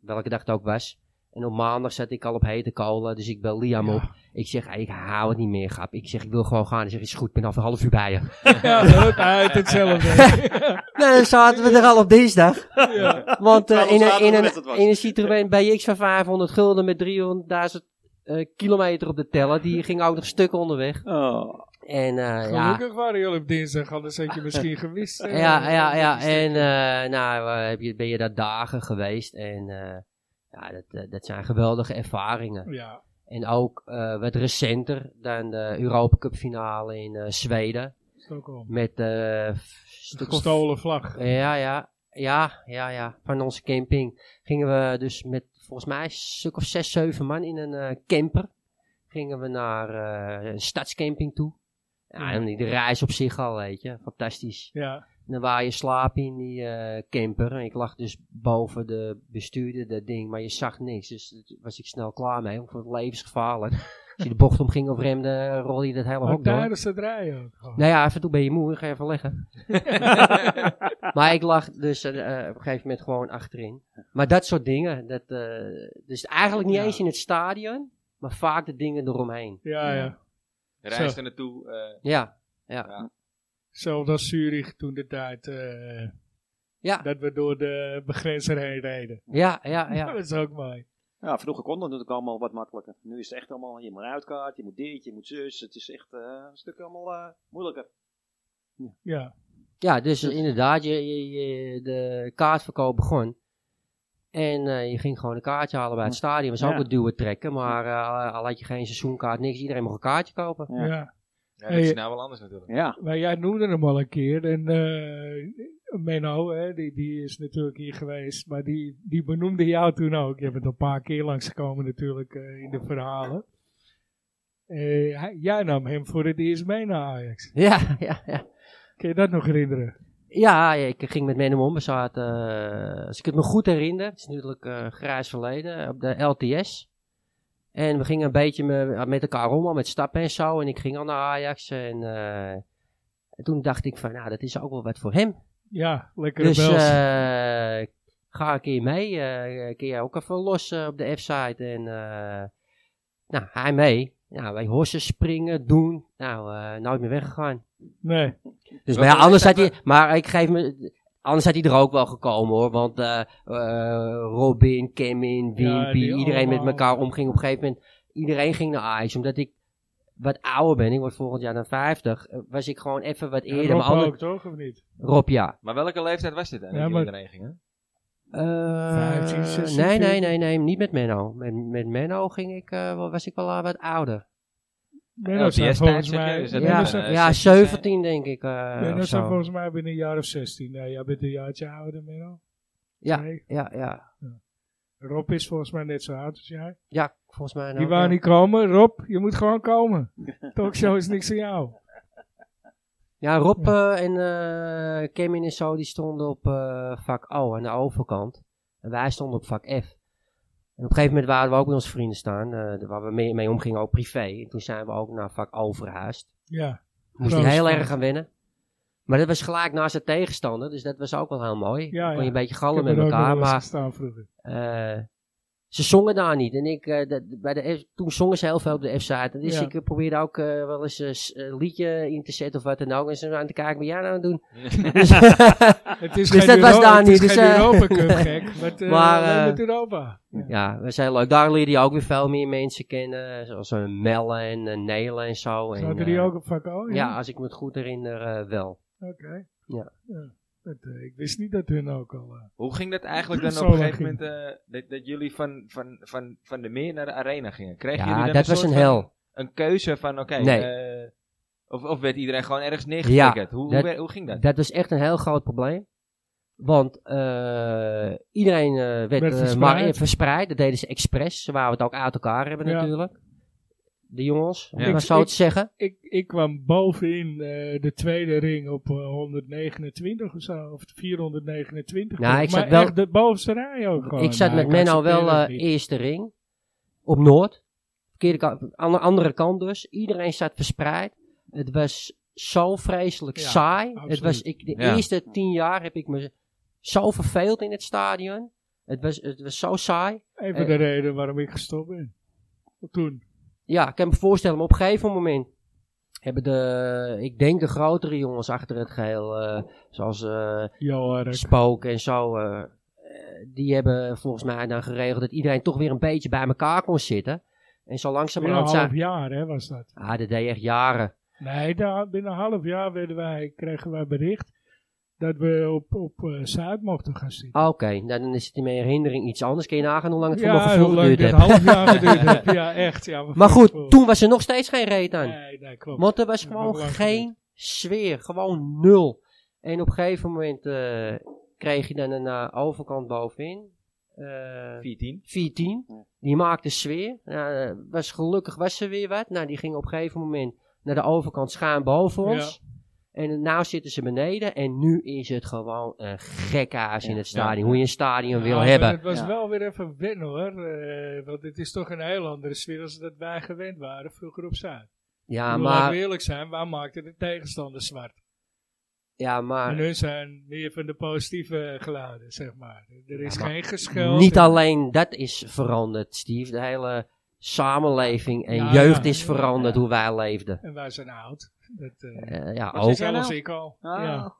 S4: Welke dag het ook was. En op maandag zat ik al op hete kolen, dus ik bel Liam op. Ik zeg, "Hey, ik hou het niet meer, grap. Ik zeg, ik wil gewoon gaan. Hij zegt, is goed, ik ben over een half uur bij je.
S2: Ja, dat uit hetzelfde.
S4: Nou, dan zaten we er al op dinsdag.
S2: [laughs] ja. Nou,
S4: Want eh,
S3: Terwijl
S4: in,
S3: we zaten
S4: een, in,
S3: hoe
S4: een,
S3: net het was.
S4: in een Citroën BX van 500 gulden met 300.000 eh, kilometer op de teller, die ging ook nog stuk onderweg.
S3: Oh,
S4: En eh, [laughs] ja,
S2: Gelukkig waren jullie op dinsdag, anders had je misschien gewist. eh,
S4: Ja, ja, ja.
S2: dat je-
S4: En eh, nou, eh, heb je, ben je daar dagen geweest. En eh, ja, dat, eh, dat zijn geweldige ervaringen.
S2: Ja,
S4: En ook eh, wat recenter dan de Europa Cup finale in eh, Zweden.
S2: Stockholm.
S4: Met eh, een stuk of-
S2: Gestolen vlag.
S4: Ja, ja. Ja, ja, ja. Van onze camping gingen we dus met volgens mij een stuk of zes, zeven man in een eh, camper. Gingen we naar eh, een stadscamping toe. Ja,
S2: Ja.
S4: en die reis op zich al, weet je. Fantastisch.
S2: Ja,
S4: En dan waar je slaapt in die eh, camper. En ik lag dus boven de bestuurder, dat ding, maar je zag niks. Dus daar was ik snel klaar mee, want het was levensgevaarlijk. Als je de bocht omging of remde, rolde je dat hele
S2: ook
S4: hok door.
S2: tijdens het rijden ook. gewoon.
S4: Nou ja, even toe ben je moe, ga je even leggen. maar ik lag dus eh, eh, op een gegeven moment gewoon achterin. Maar dat soort dingen, dat, eh, dus eigenlijk niet
S2: Ja.
S4: eens in het stadion, maar vaak de dingen eromheen.
S2: Ja, ja.
S1: Reis
S2: Zo.
S1: er naartoe. eh,
S4: Ja,
S2: Zelfs als Zurich toen de tijd. eh,
S4: Ja.
S2: Dat we door de begrenzer heen reden.
S4: ja, ja, Ah, ja.
S2: [laughs] Dat is ook mooi.
S3: ja, vroeger kon dat natuurlijk allemaal wat makkelijker. Nu is het echt allemaal, je moet een uitkaart, je moet dit, je moet zus. Het is echt eh, een stuk allemaal eh, moeilijker.
S2: Ja,
S4: Ja, dus inderdaad, je, je, je- de kaartverkoop begon. En eh, je ging gewoon een kaartje halen bij het stadion. We zouden
S3: Ja.
S4: ook het duwen trekken, maar eh, al had je geen seizoenkaart, niks. Iedereen mocht een kaartje kopen.
S2: ja.
S3: Ja.
S1: ja, dat is
S2: Hey. eh,
S1: nou wel anders natuurlijk.
S3: Ja,
S2: Maar jij noemde hem al een keer. En eh Menno, hè, die, die is natuurlijk hier geweest. Maar die, die benoemde jou toen ook. Je bent een paar keer langsgekomen natuurlijk eh, in de verhalen. Eh, hij- jij nam hem voor het eerst mee naar Ajax.
S4: Ja, [laughs] ja, ja.
S2: Kun je dat nog herinneren?
S4: Ja, ik ging met Menno om. We zaten, eh, als ik het me goed herinner, het is natuurlijk eh grijs verleden, op de LTS. En we gingen een beetje me- met elkaar om, al met stappen en zo. En ik ging al naar Ajax. En eh, en toen dacht ik van, nou, dat is ook wel wat voor hem.
S2: Ja, lekker
S4: Dus
S2: bels.
S4: eh, ga een keer mee. eh kun jij ook even los eh, op de F-site. En eh, nou, hij mee. Nou, wij horsen springen, doen. Nou, eh, nooit meer weggegaan.
S2: nee.
S4: Dus,
S1: Welke
S4: maar ja, anders had
S1: leeftijd
S4: hij... Maar ik geef me... Anders had hij er ook wel gekomen hoor. Want eh, eh, Robin, Kemin,
S2: Ja,
S4: Wimpy,
S2: die
S4: iedereen met
S2: allemaal.
S4: elkaar omging. Op een gegeven moment, iedereen ging naar Ajax. Omdat ik wat ouder ben, ik word volgend jaar dan 50, eh, was ik gewoon even wat
S2: Ja,
S4: eerder.
S2: Rob
S4: maar ander-
S2: ook toch, of niet?
S4: Rob, ja.
S1: Maar welke leeftijd was dit dan?
S2: Ja,
S1: dat
S2: maar-
S1: jullie erheen gingen?
S4: Eh,
S2: 15, 16,
S4: nee, nee,
S2: 14.
S4: nee, nee, niet met Menno. Met, met Menno ging ik, eh, wel- was ik wel eh, wat ouder.
S2: Menno
S1: LTS
S2: staat
S1: tijd,
S2: volgens
S1: zeg je?
S2: mij...
S1: Is dat
S2: Menno
S4: ja,
S1: dan,
S2: staat-
S1: eh,
S4: ja
S1: 16?
S4: 17 denk ik. eh,
S2: Menno
S4: of
S2: staat
S4: zo.
S2: volgens mij binnen een jaar of 16. Nou, jij bent een jaartje ouder, Menno. Nee.
S4: Ja, ja.
S2: Rob is volgens mij net zo oud als jij.
S4: Ja, volgens mij.
S2: Die
S4: ook,
S2: wou
S4: ja.
S2: niet komen. Rob, je moet gewoon
S4: [laughs]
S2: komen. Talkshow is niks aan jou.
S4: Ja, Rob eh, en eh Kemin en zo, die stonden op eh, vak O aan de overkant. En wij stonden op vak F. En op een gegeven moment waren we ook bij onze vrienden staan, eh, waar we mee, mee omgingen, ook privé. En toen zijn we ook naar vak O verhuisd.
S2: Ja.
S4: Moest hij
S2: Groot
S4: heel
S2: spel.
S4: erg gaan winnen. Maar dat was gelijk naast zijn tegenstander, dus dat was ook wel heel mooi.
S2: Ja,
S4: Kon je
S2: ja.
S4: een beetje
S2: Ik
S4: gallen
S2: heb
S4: met
S2: er ook
S4: elkaar,
S2: wel eens
S4: maar
S2: gestaan
S4: [laughs]
S2: vroeger.
S4: eh, ze zongen daar niet. En ik, eh, dat- bij de F- toen zongen ze heel veel op de F-site. En Dus
S2: Ja.
S4: ik eh, probeerde ook eh, wel eens een s- een liedje in te zetten of wat dan ook. En ze waren aan te kijken wat jij nou aan het doen. Dus-
S2: Het is
S4: Dus [laughs]
S2: geen
S4: dat was
S2: Euro-
S4: daar
S2: het
S4: niet,
S2: is
S4: dus,
S2: geen
S4: eh,
S2: Europa
S4: [laughs]
S2: Cup, gek. Met, eh
S4: Maar,
S2: alleen
S4: eh,
S2: met Europa. Ja.
S4: ja, we zijn leuk. Daar leerde je ook weer veel meer mensen kennen. Zoals eh, Melle en eh, Nelen en zo. En,
S2: Zaten die
S4: eh,
S2: ook op vak O?
S4: Ja, als ik me het goed herinner, eh, wel.
S2: Oké.
S4: Ja.
S2: Dat, eh, ik wist niet dat hun ook al... eh,
S1: Hoe ging dat
S2: [clears throat]
S1: eigenlijk dan
S2: Zo
S1: op een
S2: lang
S1: gegeven moment eh, dat, dat jullie van, van, van, van de meer naar de arena gingen? Kregen jullie
S4: Ja,
S1: dan
S4: dat was
S1: soort
S4: een
S1: van-
S4: hel.
S1: een keuze van oké,
S4: Nee.
S1: eh, of, of werd iedereen gewoon ergens
S4: Ja,
S1: neergetikkerd? hoe, hoe,
S4: dat-
S1: wer- hoe ging dat?
S4: Dat was echt een heel groot probleem. Want eh, iedereen eh, werd,
S2: Werd
S4: eh,
S2: verspreid.
S4: maar, eh, verspreid. Dat deden ze expres. Ze wouden het ook uit elkaar hebben
S2: Ja.
S4: natuurlijk. De jongens, om
S1: Ja.
S4: het maar
S2: Ik-
S4: zo
S2: ik-
S4: te zeggen.
S2: ik, ik kwam bovenin eh, de tweede ring op eh, 129 of zo. Of 429.
S4: Nou, ik
S2: maar
S4: zat wel-
S2: echt de bovenste rij ook gewoon.
S4: ik zat
S2: Nou,
S4: met Menno
S2: accepteer
S4: wel
S2: dat
S4: eh,
S2: niet.
S4: eerste ring. Op Noord. Verkeerde kant, aan de andere kant dus. Iedereen zat verspreid. Het was zo vreselijk
S2: Ja,
S4: saai. Het
S2: absoluut.
S4: was, ik, de
S1: Ja.
S4: eerste tien jaar heb ik me zo verveeld in het stadion. Het was, het was zo saai.
S2: Even
S4: Eh.
S2: de reden waarom ik gestopt ben. Toen.
S4: Ja, ik kan me voorstellen, maar op een gegeven moment hebben de, ik denk de grotere jongens achter het geheel, eh, zoals eh,
S2: Johan.
S4: Spook en zo, eh, eh, die hebben volgens mij dan geregeld dat iedereen toch weer een beetje bij elkaar kon zitten. En zo
S2: Binnen een
S4: langzamerhand
S2: half
S4: zijn...
S2: jaar hè, was dat.
S4: Ah, dat deed echt jaren.
S2: Nee, daar, binnen een half jaar werden wij, kregen wij bericht dat we op, op eh, Zuid mochten gaan zitten.
S4: Ah, Oké, nou, dan is het in mijn herinnering iets anders. Kun je nagaan hoe lang het voor mijn
S2: ja,
S4: gevoel
S2: hoe lang
S4: geduurd
S2: dit
S4: heeft.
S2: half jaar geduurd heeft. Ja, echt. Ja,
S4: Maar
S2: voor-
S4: goed, toen was er nog steeds geen reet aan.
S2: Nee, nee, klopt.
S4: Want er was
S2: Ja,
S4: gewoon
S2: maar belangrijk
S4: geen sfeer, gewoon nul. En op een gegeven moment eh, kreeg je dan een eh, overkant bovenin. eh
S1: 14.
S4: 14.
S3: Ja.
S4: Die maakte sfeer. Nou, eh, was, gelukkig was er weer wat. Nou, die ging op een gegeven moment naar de overkant schuin boven
S2: Ja.
S4: ons. En nu zitten ze beneden. En nu is het gewoon een gekhuis in het stadion.
S1: ja.
S4: Hoe je een stadion
S2: Ja,
S4: wil
S2: maar
S4: hebben.
S2: Het was
S3: Ja.
S2: wel weer even wennen hoor. eh, want het is toch een heel andere sfeer als dat wij gewend waren vroeger op Zuid.
S4: Ja,
S2: Ik bedoel, Laten we
S4: maar,
S2: eerlijk zijn, wij maakten de tegenstander zwart.
S4: ja,
S2: en
S4: maar
S2: hun zijn meer van de positieve geluiden, zeg maar. Er is
S4: Ja, maar
S2: geen gescheld.
S4: niet alleen dat is veranderd, Steve. De hele samenleving en
S2: Ja,
S4: jeugd
S2: ja.
S4: is veranderd hoe wij leefden.
S2: En wij zijn oud. Dat, eh,
S4: Eh, ja,
S3: Wat
S4: ook.
S3: is er?
S2: Zelfs
S3: nou?
S2: ik al.
S3: Ah,
S2: Ja.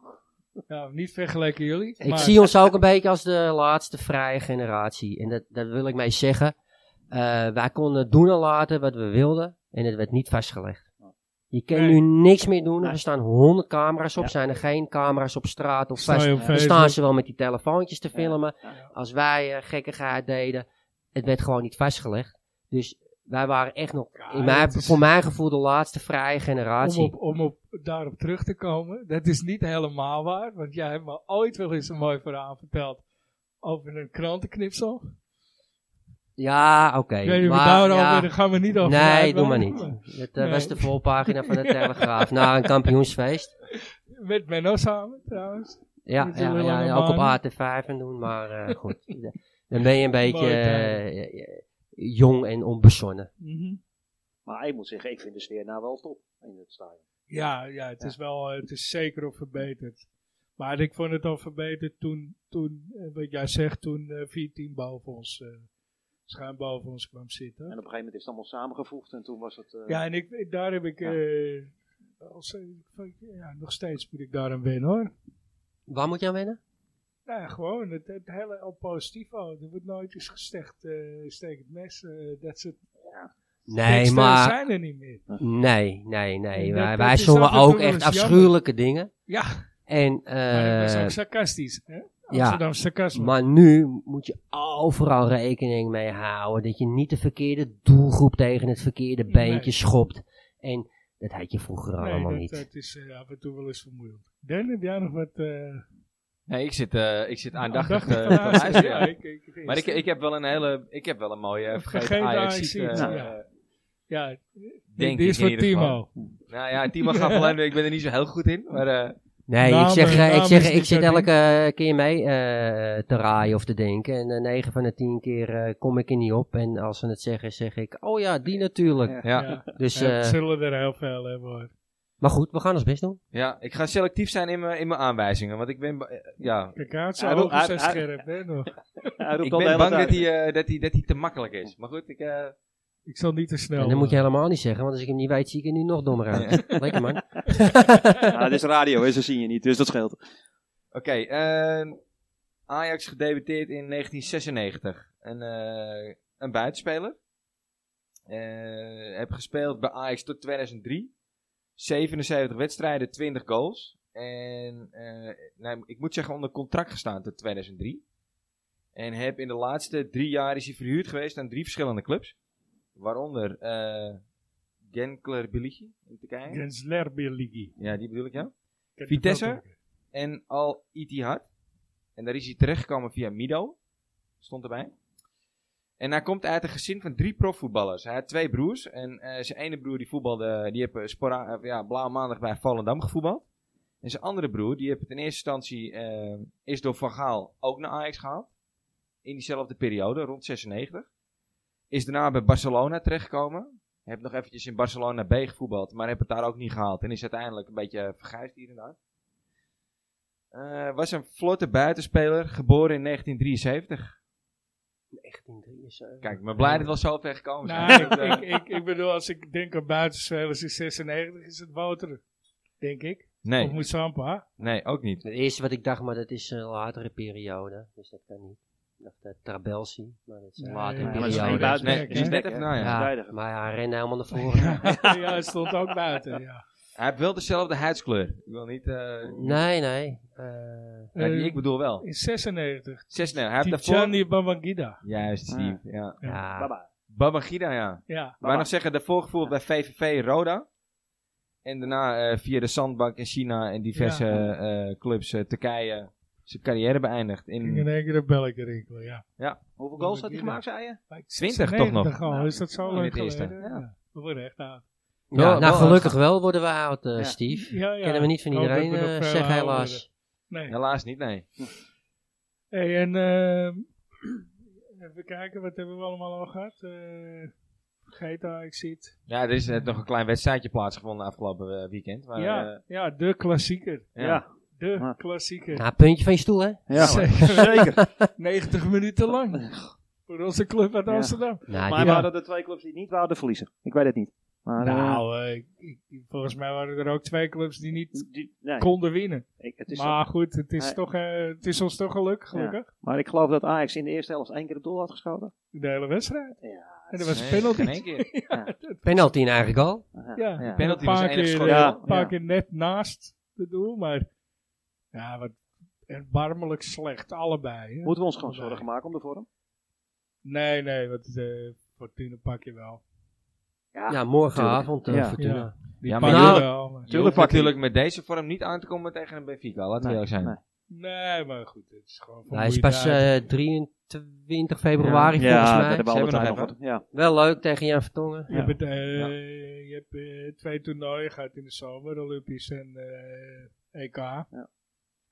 S2: Ja, niet vergeleken jullie.
S4: Ik
S2: maar
S4: zie ons ook een beetje als de laatste vrije generatie. En dat, daar wil ik mee zeggen. Eh, wij konden doen en laten wat we wilden. En het werd niet vastgelegd. Je kan
S2: Nee.
S4: nu niks meer doen. Er
S3: Nee.
S4: staan honderd camera's op.
S3: Ja.
S4: Zijn er geen camera's op straat of
S2: sta
S4: vast?
S2: je op
S4: Dan
S2: Facebook.
S4: staan ze wel met die telefoontjes te
S3: Ja.
S4: filmen.
S3: Ja.
S4: Als wij eh, gekkigheid deden. Het werd gewoon niet vastgelegd. Dus wij waren echt nog,
S2: Ja,
S4: in mijn,
S2: dat is-
S4: voor mijn gevoel, de laatste vrije
S2: om,
S4: generatie.
S2: op, om op, daarop terug te komen, dat is niet helemaal waar, want jij hebt me ooit wel eens een mooi verhaal verteld over een krantenknipsel.
S4: Ja, oké.
S2: Ik weet niet of we
S4: maar
S2: daarover,
S4: ja.
S2: daar gaan we niet over
S4: Nee,
S2: uit,
S4: doe maar niet. Dat eh,
S2: Nee.
S4: was de voorpagina van de Telegraaf. Na een kampioensfeest.
S2: Met Menno samen, trouwens.
S4: Ja,
S2: Niet zo
S4: ja,
S2: heel
S4: ja,
S2: lange
S4: ja, ook op
S2: baan.
S4: AT5 en doen, maar eh, goed. Dan ben je een beetje
S2: Mooie tijd.
S4: eh, eh, jong en onbezonnen.
S2: Mhm.
S3: Maar ik moet zeggen, ik vind de sfeer nou wel top in het stadion.
S2: Ja, ja, het is wel, eh, het is zeker al verbeterd. Maar ik vond het al verbeterd toen, toen eh, wat jij zegt, toen eh 14 boven ons, eh, schuin boven ons kwam zitten.
S3: En op een gegeven moment is het allemaal samengevoegd en toen was het... eh,
S2: Ja, en ik, ik- daar heb ik,
S3: Ja.
S2: eh, als, eh, van- ja, nog steeds moet ik daar aan wennen hoor.
S4: Waar moet je aan wennen?
S2: Nou ja, gewoon, het, het hele al positief, oh, er wordt nooit eens gestecht, eh steek het mes, eh, dat soort
S4: Nee,
S2: teksten
S4: maar...
S2: zijn er niet meer.
S4: Nee, nee, nee.
S2: Dat-
S4: Wij,
S2: dat
S4: wij
S2: is
S4: zongen
S2: af en toe
S4: ook
S2: wel
S4: echt
S2: eens jammer.
S4: afschuwelijke dingen.
S2: Ja,
S4: En,
S2: maar dat is
S4: eh,
S2: ook sarcastisch, hè?
S4: ja,
S2: Amsterdam sarcasme.
S4: maar nu moet je overal rekening mee houden. Dat je niet de verkeerde doelgroep tegen het verkeerde
S2: Nee.
S4: beentje schopt. En dat had je vroeger
S2: nee,
S4: allemaal
S2: dat,
S4: niet.
S2: dat is eh, af en toe wel eens vermoeiend. Dan heb jij nog wat eh
S1: Nee, ik zit, eh, ik zit aandachtig
S2: aandacht
S1: eh, te
S2: [laughs]
S1: luisteren. ja.
S2: ik, ik, ik-
S1: Maar ik, ik heb wel een hele, ik heb wel een mooie eh, vergeten
S2: Vergeten
S1: Ajax.
S2: Ajaxiet,
S4: Nou.
S1: eh,
S2: ja. ja,
S1: Denk
S2: die
S1: ik
S2: is
S1: in
S2: voor
S1: ieder geval.
S2: Timo.
S1: Nou ja, Timo
S2: [laughs]
S1: gaat wel ik ben er niet zo heel goed in. Maar eh,
S4: Nee,
S2: Namen-
S4: ik zeg, eh, ik,
S2: namen
S4: zeg
S2: is
S4: ik
S2: niet
S4: zit
S2: jouw ding.
S4: elke keer mee eh, te raaien of te denken. En eh, 9 van de 10 keer eh, kom ik er niet op. En als ze het zeggen, zeg ik, oh ja, die
S3: Ja.
S4: natuurlijk.
S1: ja. Ja.
S2: Ja.
S4: Dus,
S2: Ja,
S4: eh,
S2: het zullen er heel veel hebben hoor.
S4: maar goed, we gaan ons best doen.
S1: ik ga selectief zijn in mijn in mijn aanwijzingen. Want ik ben, ba- eh, ja,
S2: Kijk uit, zijn
S3: Hij roept-
S2: ogen zijn
S3: hij-
S2: scherp hè nog.
S3: Hij roept
S1: ik
S3: al de
S1: ben
S3: hele
S1: bang dat
S3: tijd.
S1: hij, eh, dat, hij, dat hij te makkelijk is. Maar goed, ik, eh,
S2: Ik zal niet te snel.
S4: en dan moet je helemaal niet zeggen, want als ik hem niet weet, zie ik er nu nog dommer uit. [laughs] Lekker man.
S1: eh,
S3: Nou, het is radio, hè, ze zien je niet, dus dat scheelt.
S1: Oké, ehm, Ajax gedebuteerd in 1996. Een, eh, een buitenspeler. Eh, heb gespeeld bij Ajax tot 2003. 77 wedstrijden, 20 goals. En eh, nou, ik moet zeggen onder contract gestaan tot 2003. En heb in de laatste drie jaar is hij verhuurd geweest aan drie verschillende clubs. Waaronder eh Genkler Biligi in Turkije.
S2: Genslerbierligi.
S1: Ja, die bedoel ik ja. Vitesse? en Al Ittihad. En daar is hij terechtgekomen via Mido. Stond erbij. En hij komt uit een gezin van drie profvoetballers. Hij had twee broers. En eh, zijn ene broer die voetbalde, die heeft eh, spora- eh, ja, blauw maandag bij Volendam gevoetbald. En zijn andere broer, die heeft in eerste instantie, eh, is door Van Gaal ook naar Ajax gehaald. In diezelfde periode, rond 96. Is daarna bij Barcelona terechtgekomen. Heb nog eventjes in Barcelona B gevoetbald, maar heb het daar ook niet gehaald. En is uiteindelijk een beetje eh, verguisd hier en daar. Eh, was een vlotte buitenspeler, geboren in 1973.
S4: 1973.
S1: Kijk, ik ben blij dat we al zo ver gekomen zijn.
S2: Nou,
S1: Dat, eh,
S2: ik, ik, ik bedoel, als ik denk aan buitenspelers in 96, is het Wouter, denk ik.
S1: nee,
S2: Of Moesampa.
S1: nee, ook niet.
S4: Het eerste wat ik dacht, maar dat is eh, een latere periode. Dus dat kan niet. Ik dacht eh, Trabelsi, maar dat is een
S2: Nee,
S4: latere
S2: maar
S3: dat is
S4: periode.
S3: geen buiten-
S1: Nee,
S2: Kijk,
S1: die is
S2: hè?
S1: net even, nou ja.
S4: Ja,
S3: verdediger.
S4: maar hij rende helemaal naar voren.
S2: ja, hij stond ook buiten, ja.
S1: Hij heeft wel dezelfde huidskleur. Ik wil niet... eh,
S4: nee, nee. eh,
S1: ja, die
S2: Eh,
S1: ik bedoel wel.
S2: In 96.
S1: 6 nee, hij heeft daarvoor...
S2: Tijani Bamangida.
S1: Juist, Steve,
S2: Ah.
S1: ja.
S4: ja.
S3: Baba.
S1: Babangida, ja.
S2: Ja.
S1: Wij nog zeggen, daarvoor gevoeld bij VVV Roda. En daarna eh, via de zandbank in China en diverse eh, clubs, eh, Turkije, zijn carrière beëindigd.
S2: ging In
S1: In
S2: één keer de belletje rinkelen, ja.
S3: Hoeveel goals had hij gemaakt, zei je?
S2: Maar ik-
S1: 20 toch nog?
S2: 96 al,
S1: Nou,
S2: is dat zo
S1: in
S2: lang
S1: het eerste,
S2: geleden?
S1: ja.
S2: Ja. We worden echt oud.
S1: Ja,
S4: Ja, nou,
S1: wel
S4: gelukkig wel worden we oud, eh,
S3: Ja.
S4: Steve.
S2: Ja, ja.
S4: Kennen we niet van
S2: Ik hoop dat
S4: iedereen,
S2: we nog
S4: eh,
S2: veel
S4: zeg
S2: ouder
S4: helaas.
S2: Nee.
S1: helaas niet, nee.
S2: Hey, en ehm, [clears throat] even kijken, wat hebben we allemaal al gehad? Eh Geta, ik zie het.
S1: Ja, er is net nog een klein wedstrijdje plaatsgevonden afgelopen eh, weekend. Maar,
S2: ja,
S1: eh,
S2: ja, de klassieker.
S1: ja.
S2: De
S3: Ja.
S2: klassieker.
S4: Nou, puntje van je stoel, hè?
S2: [laughs]
S3: Ja, zeker.
S2: 90 minuten
S1: [laughs]
S2: lang. Voor onze club uit
S3: Ja.
S2: Amsterdam.
S4: Nou,
S3: Maar
S4: die-
S3: waren de twee clubs die niet wouden verliezen? Ik weet het niet. Maar, eh,
S2: Nou, eh, ik- ik- volgens mij waren er ook twee clubs die niet
S3: die- nee,
S2: konden winnen.
S3: ik, het is zo.
S2: Maar goed, het is,
S3: Nee.
S2: toch, eh, het is ons toch gelukkig, gelukkig.
S3: maar ik geloof dat Ajax in de eerste helft één keer op doel had geschoten.
S2: De hele wedstrijd.
S3: Ja,
S2: En dat was
S1: Nee,
S2: een penalty.
S1: geen één keer.
S4: penalty nou in eigen goal.
S2: Ja,
S3: ja.
S1: Penalty
S4: dus
S2: een
S1: was
S2: paar,
S1: de enige
S2: keer,
S1: schot.
S2: eh,
S3: Ja,
S2: een paar
S3: ja.
S2: keer net naast het doel, maar ja, wat erbarmelijk slecht, allebei. hè.
S3: Moeten we ons gewoon zorgen maken om de vorm?
S2: Nee, nee, wat eh Fortuna pak je wel.
S4: Ja, morgenavond, eh,
S3: Ja.
S4: Fortuna.
S2: Ja.
S1: Die
S2: Die
S1: ja,
S2: pak
S1: maar
S2: je
S1: je hoeft-
S2: wel. maar-
S1: je hoeft
S3: Tuurlijk,
S1: natuurlijk met deze vorm niet aan te komen tegen een Benfica, laten we eerlijk zijn.
S3: nee.
S2: Nee, maar goed, het is gewoon
S4: Nou, hij is
S2: vermoeid
S4: pas
S2: uit.
S4: eh, 23 februari volgens
S3: ja,
S4: mij.
S3: dat
S1: Ze
S3: hebben we
S1: hebben
S3: altijd
S1: nog
S3: nog wat. Ja.
S4: Wel leuk tegen Jan Vertongen.
S2: Je
S3: ja.
S2: hebt, eh, je hebt eh, twee toernooien gehad in de zomer, Olympisch en eh, EK. Het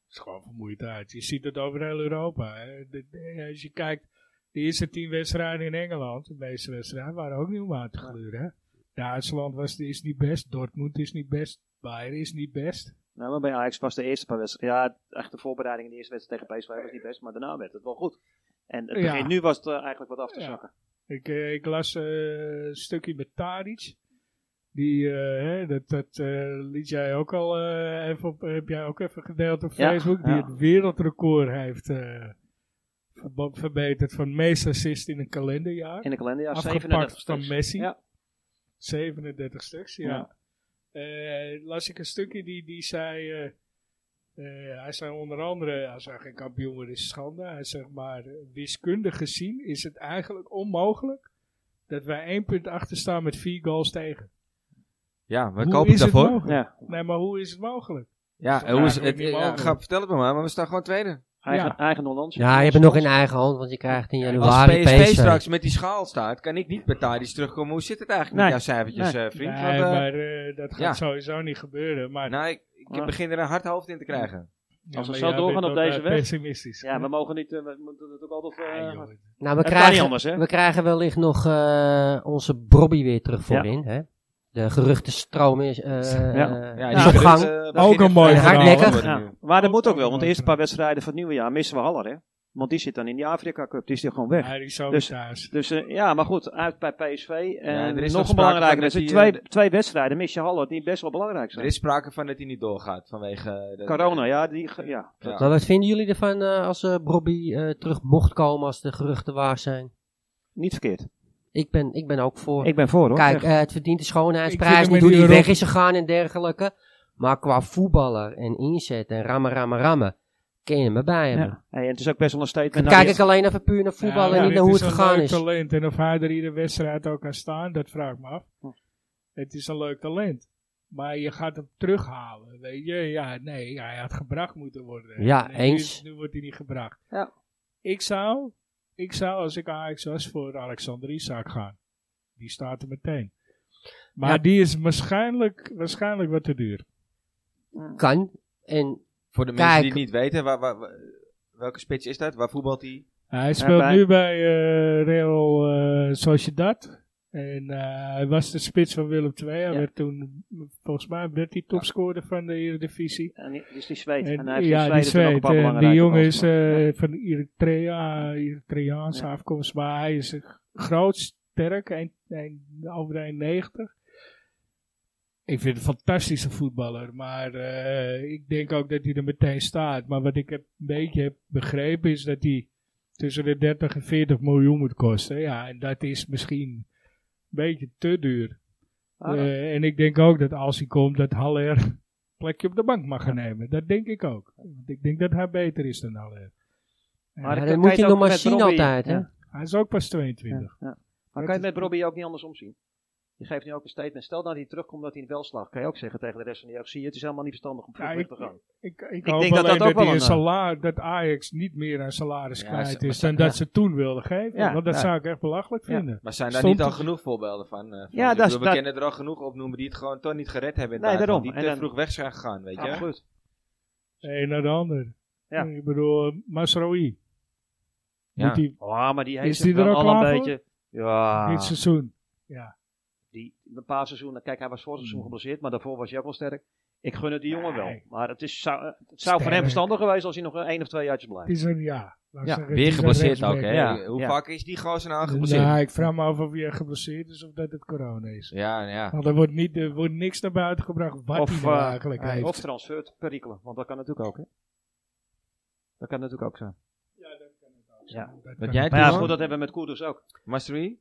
S2: is gewoon vermoeidheid. Je ziet het over heel Europa. hè. De- de- als je kijkt, de eerste tien wedstrijden in Engeland, de meeste wedstrijden, waren ook niet om aan te gluren. hè. Duitsland was, is niet best, Dortmund is niet best, Bayern is niet best.
S3: Nou, maar bij Ajax was de eerste paar wedstrijden. Ja, echt de voorbereiding in de eerste wedstrijd tegen PSV was niet best, maar daarna werd het wel goed. En het
S2: Ja.
S3: begin nu was het eh, eigenlijk wat af te
S2: Ja.
S3: zakken.
S2: Ik, eh, ik las eh, een stukje met Tadic. Die, eh, hè, dat, dat eh, liet jij ook al eh, even op, heb jij ook even gedeeld op
S3: Ja,
S2: Facebook. Die
S3: ja.
S2: het wereldrecord heeft eh, verbo- verbeterd van meest assist in een kalenderjaar.
S3: In de kalenderjaar
S2: Afgepakt
S3: 37
S2: van
S3: stuks.
S2: Messi.
S3: Ja.
S2: 37 stuks, ja.
S3: Ja.
S2: Eh, las ik een stukje die, die zei... eh, eh, hij zei onder andere, als hij geen kampioen wordt is het schande. Hij zegt maar, eh, wiskundig gezien is het eigenlijk onmogelijk dat wij één punt achter staan met vier goals tegen.
S1: Ja, we
S2: Hoe
S1: kopen het
S2: is
S1: daarvoor.
S2: mogelijk?
S3: Ja,
S2: Nee, maar hoe is het mogelijk?
S1: Ja,
S2: Ja,
S1: hoe is
S2: dat
S1: het?
S2: is niet
S1: ja,
S2: mogelijk.
S1: ga- vertel het me maar, maar we staan gewoon tweede.
S3: eigen,
S2: Ja.
S3: eigen Hollands.
S4: Ja, je hebt het nog in eigen hand, want je krijgt in
S1: Als
S4: januari
S1: PSV
S4: PSV.
S1: straks met die schaal staat, kan ik niet bij Tadic terugkomen. Hoe zit het eigenlijk
S3: Nee.
S1: met jouw cijfertjes, eh, vriend?
S2: nee,
S1: Want, eh,
S2: maar eh, dat gaat
S1: ja.
S2: sowieso niet gebeuren. Maar,
S1: nou, ik, ik
S3: Ja.
S1: begin er een hard hoofd in te krijgen.
S2: Ja,
S3: als we
S2: maar
S3: zo
S2: jij
S3: doorgaan
S2: bent
S3: op
S2: ook,
S3: deze
S2: eh,
S3: weg.
S2: pessimistisch.
S3: Ja, we mogen niet, eh, we moeten het ook altijd... eh,
S2: Ja,
S3: [laughs]
S2: joh.
S4: Nou, we
S3: het kan niet
S4: krijgen,
S3: anders, hè?
S4: we krijgen wellicht nog eh, onze Brobby weer terug voorin. Hè? De geruchtenstroom is, eh,
S3: Ja.
S1: Ja,
S4: is
S1: die
S4: op
S1: begint,
S4: gang.
S1: eh, begint
S2: Ook een
S1: echt
S2: mooi
S1: te gaan
S4: verhaal.
S1: worden
S4: Hardnekkig.
S1: nu.
S3: Ja, maar dat moet ook wel, want de eerste paar wedstrijden van het nieuwe jaar missen we Haller, hè? Want die zit dan in die Afrika Cup, die is er gewoon weg.
S2: Hij is zo
S3: Dus-
S2: thuis.
S3: Dus eh, ja, maar goed, uit bij PSV. En
S1: Ja, er is nog sprake
S3: nog een belangrijke
S1: van dat
S3: wedstrijd.
S1: hij, eh,
S3: Twee, twee wedstrijden mis je Haller, die best wel belangrijk
S1: Er
S3: zijn.
S1: is sprake van dat hij niet doorgaat vanwege... eh, de-
S3: Corona, ja. Die, ge- ja.
S1: Ja.
S4: Maar wat vinden jullie ervan eh, als eh Brobby eh, terug mocht komen als de geruchten waar zijn?
S3: Niet verkeerd.
S4: Ik ben, ik ben ook voor.
S3: Ik ben voor, hoor.
S4: Kijk,
S3: Echt.
S4: eh, het verdient de
S2: Ik
S4: schoonheidsprijs
S2: vind
S4: niet
S2: hem
S4: hoe
S2: in
S4: hij
S2: Europa-
S4: weg is gegaan en dergelijke. Maar qua voetballer en inzet en rammen, rammen, rammen, ken je me bij hebben.
S3: ja. Hey, en het is ook best wel een
S4: Dan
S3: statement.
S4: kijk
S3: Nou,
S4: ik alleen even puur naar voetbal en
S2: maar
S4: niet
S2: dit
S4: naar hoe
S2: is
S4: het gegaan
S2: een
S4: is.
S2: leuk talent. En of hij er iedere wedstrijd ook kan staan, dat vraag ik me af. Het is een leuk talent. Maar je gaat hem terughalen. Weet je, ja, nee, hij had gebracht moeten worden.
S4: Ja,
S2: En
S4: eens.
S2: Nu, nu wordt hij niet gebracht.
S3: Ja.
S2: Ik zou, ik zou, als ik Ajax was, voor Alexander Isak gaan. Die staat er meteen. Maar
S4: Ja.
S2: die is waarschijnlijk, waarschijnlijk wat te duur.
S4: Kan. En
S1: Voor de
S4: Kijk.
S1: mensen die het niet weten, waar, waar, waar- welke spits is dat? Waar voetbalt hij?
S2: Hij speelt
S3: bij-
S2: nu bij eh, Real eh, Sociedad. En eh, hij was de spits van Willem II. Hij
S3: Ja.
S2: werd toen, volgens mij, werd hij topscorer van de Eredivisie.
S3: En die, dus die zweet. En,
S2: En,
S3: hij heeft
S2: ja,
S3: in
S2: die
S3: Zweden toen ook een
S2: zweet.
S3: paar
S2: En die
S3: belangrijke
S2: jongen
S3: goals
S2: is
S3: gemaakt.
S2: eh, van Eritrea, Eritreaanse
S3: Ja.
S2: afkomst. Maar hij is eh, groot, sterk, een, een, over de 90. Ik vind het een fantastische voetballer. Maar eh, ik denk ook dat hij er meteen staat. Maar wat ik heb, een beetje heb begrepen is dat hij tussen de 30 en 40 miljoen moet kosten. Ja, en dat is misschien een beetje te duur.
S3: Ah,
S2: Eh, en ik denk ook dat als hij komt, dat Haller een plekje op de bank mag gaan nemen. Dat denk ik ook. Want ik denk dat hij beter is dan Haller. En
S3: Maar
S4: Maar
S3: dat
S4: dat
S3: kan
S4: moet
S3: je
S4: je
S3: het
S4: nog
S3: ook
S4: maar
S3: met
S4: zien
S3: Robbie,
S4: altijd, hè.
S3: ja.
S2: hij is ook pas 22.
S3: ja. Maar
S2: Dat
S3: kan je het
S2: is-
S3: met Robbie ook niet andersom zien? Je geeft nu ook een statement. Stel nou dat hij terugkomt dat hij het wel slaagt. Kan je ook zeggen tegen de rest van de jeugd. Zie je, het is helemaal niet verstandig om vroeg
S2: Ja,
S3: weg
S2: ik-
S3: te gaan.
S2: Ik, ik,
S3: Ik
S2: hoop
S3: denk dat
S2: alleen dat,
S3: dat ook wel
S2: hij
S3: een, eh,
S2: een salaris, dat Ajax niet meer aan salaris
S1: Ja,
S2: kwijt
S1: ze-
S2: is
S1: ze-
S2: dan
S1: ja.
S2: dat ze toen wilden geven.
S3: Ja,
S2: want dat
S3: ja.
S2: zou ik echt belachelijk
S3: Ja.
S2: vinden.
S1: Maar zijn daar
S2: Stond
S1: niet al
S2: het-
S1: genoeg voorbeelden van? eh, van?
S3: Ja,
S1: Ik
S3: dat is-
S1: bedoel, we
S3: dat-
S1: kennen er al genoeg opnoemen die het gewoon toch niet gered hebben in het buitenland,
S3: Nee, daarom.
S1: Die te
S3: En dan-
S1: vroeg weg zijn gegaan, weet je.
S3: Absoluut.
S2: De een naar de ander.
S3: Ja.
S2: Ik bedoel, Masroi.
S1: Ja. Ah.
S2: Moet hij
S3: Ah, maar die heeft
S2: Is
S3: zich
S2: die er
S3: wel
S2: al
S3: al een
S2: klaar voor?
S3: beetje... Ja,
S2: dit seizoen.
S3: die, een paar seizoenen. Kijk, hij was voor het seizoen geblesseerd, maar daarvoor was hij ook wel sterk. Ik gun het die jongen wel.
S2: Nee.
S3: Maar het, is, zou, eh, het zou voor
S2: Sterk.
S3: hem verstandig geweest als hij nog één of twee jaartjes
S2: Het
S3: blijft.
S2: is een ja. Laat ik
S3: Ja,
S2: zeggen, het
S1: Weer
S2: is een
S1: geblesseerd
S2: rechtsback.
S1: ook, hè?
S3: Ja,
S1: Hoe
S3: ja.
S1: vaak is die gozer nou geblesseerd?
S2: Nou, ik vraag me af of hij geblesseerd is of dat het corona is.
S1: Ja, ja.
S2: Want Oh, er wordt, niet, er wordt niks naar buiten gebracht wat hij
S3: Of,
S2: nou
S3: eh,
S2: eigenlijk
S3: eh,
S2: heeft.
S3: of transfert perikelen, want dat kan natuurlijk ook. Hè? Dat kan natuurlijk ook zijn.
S2: ja, dat kan het ook.
S3: Ja.
S2: Dat
S1: Wat
S2: kan
S1: jij
S2: het.
S3: Maar ja,
S1: Doe
S3: goed,
S1: maar.
S3: dat hebben we met Koerders ook.
S1: Mastery?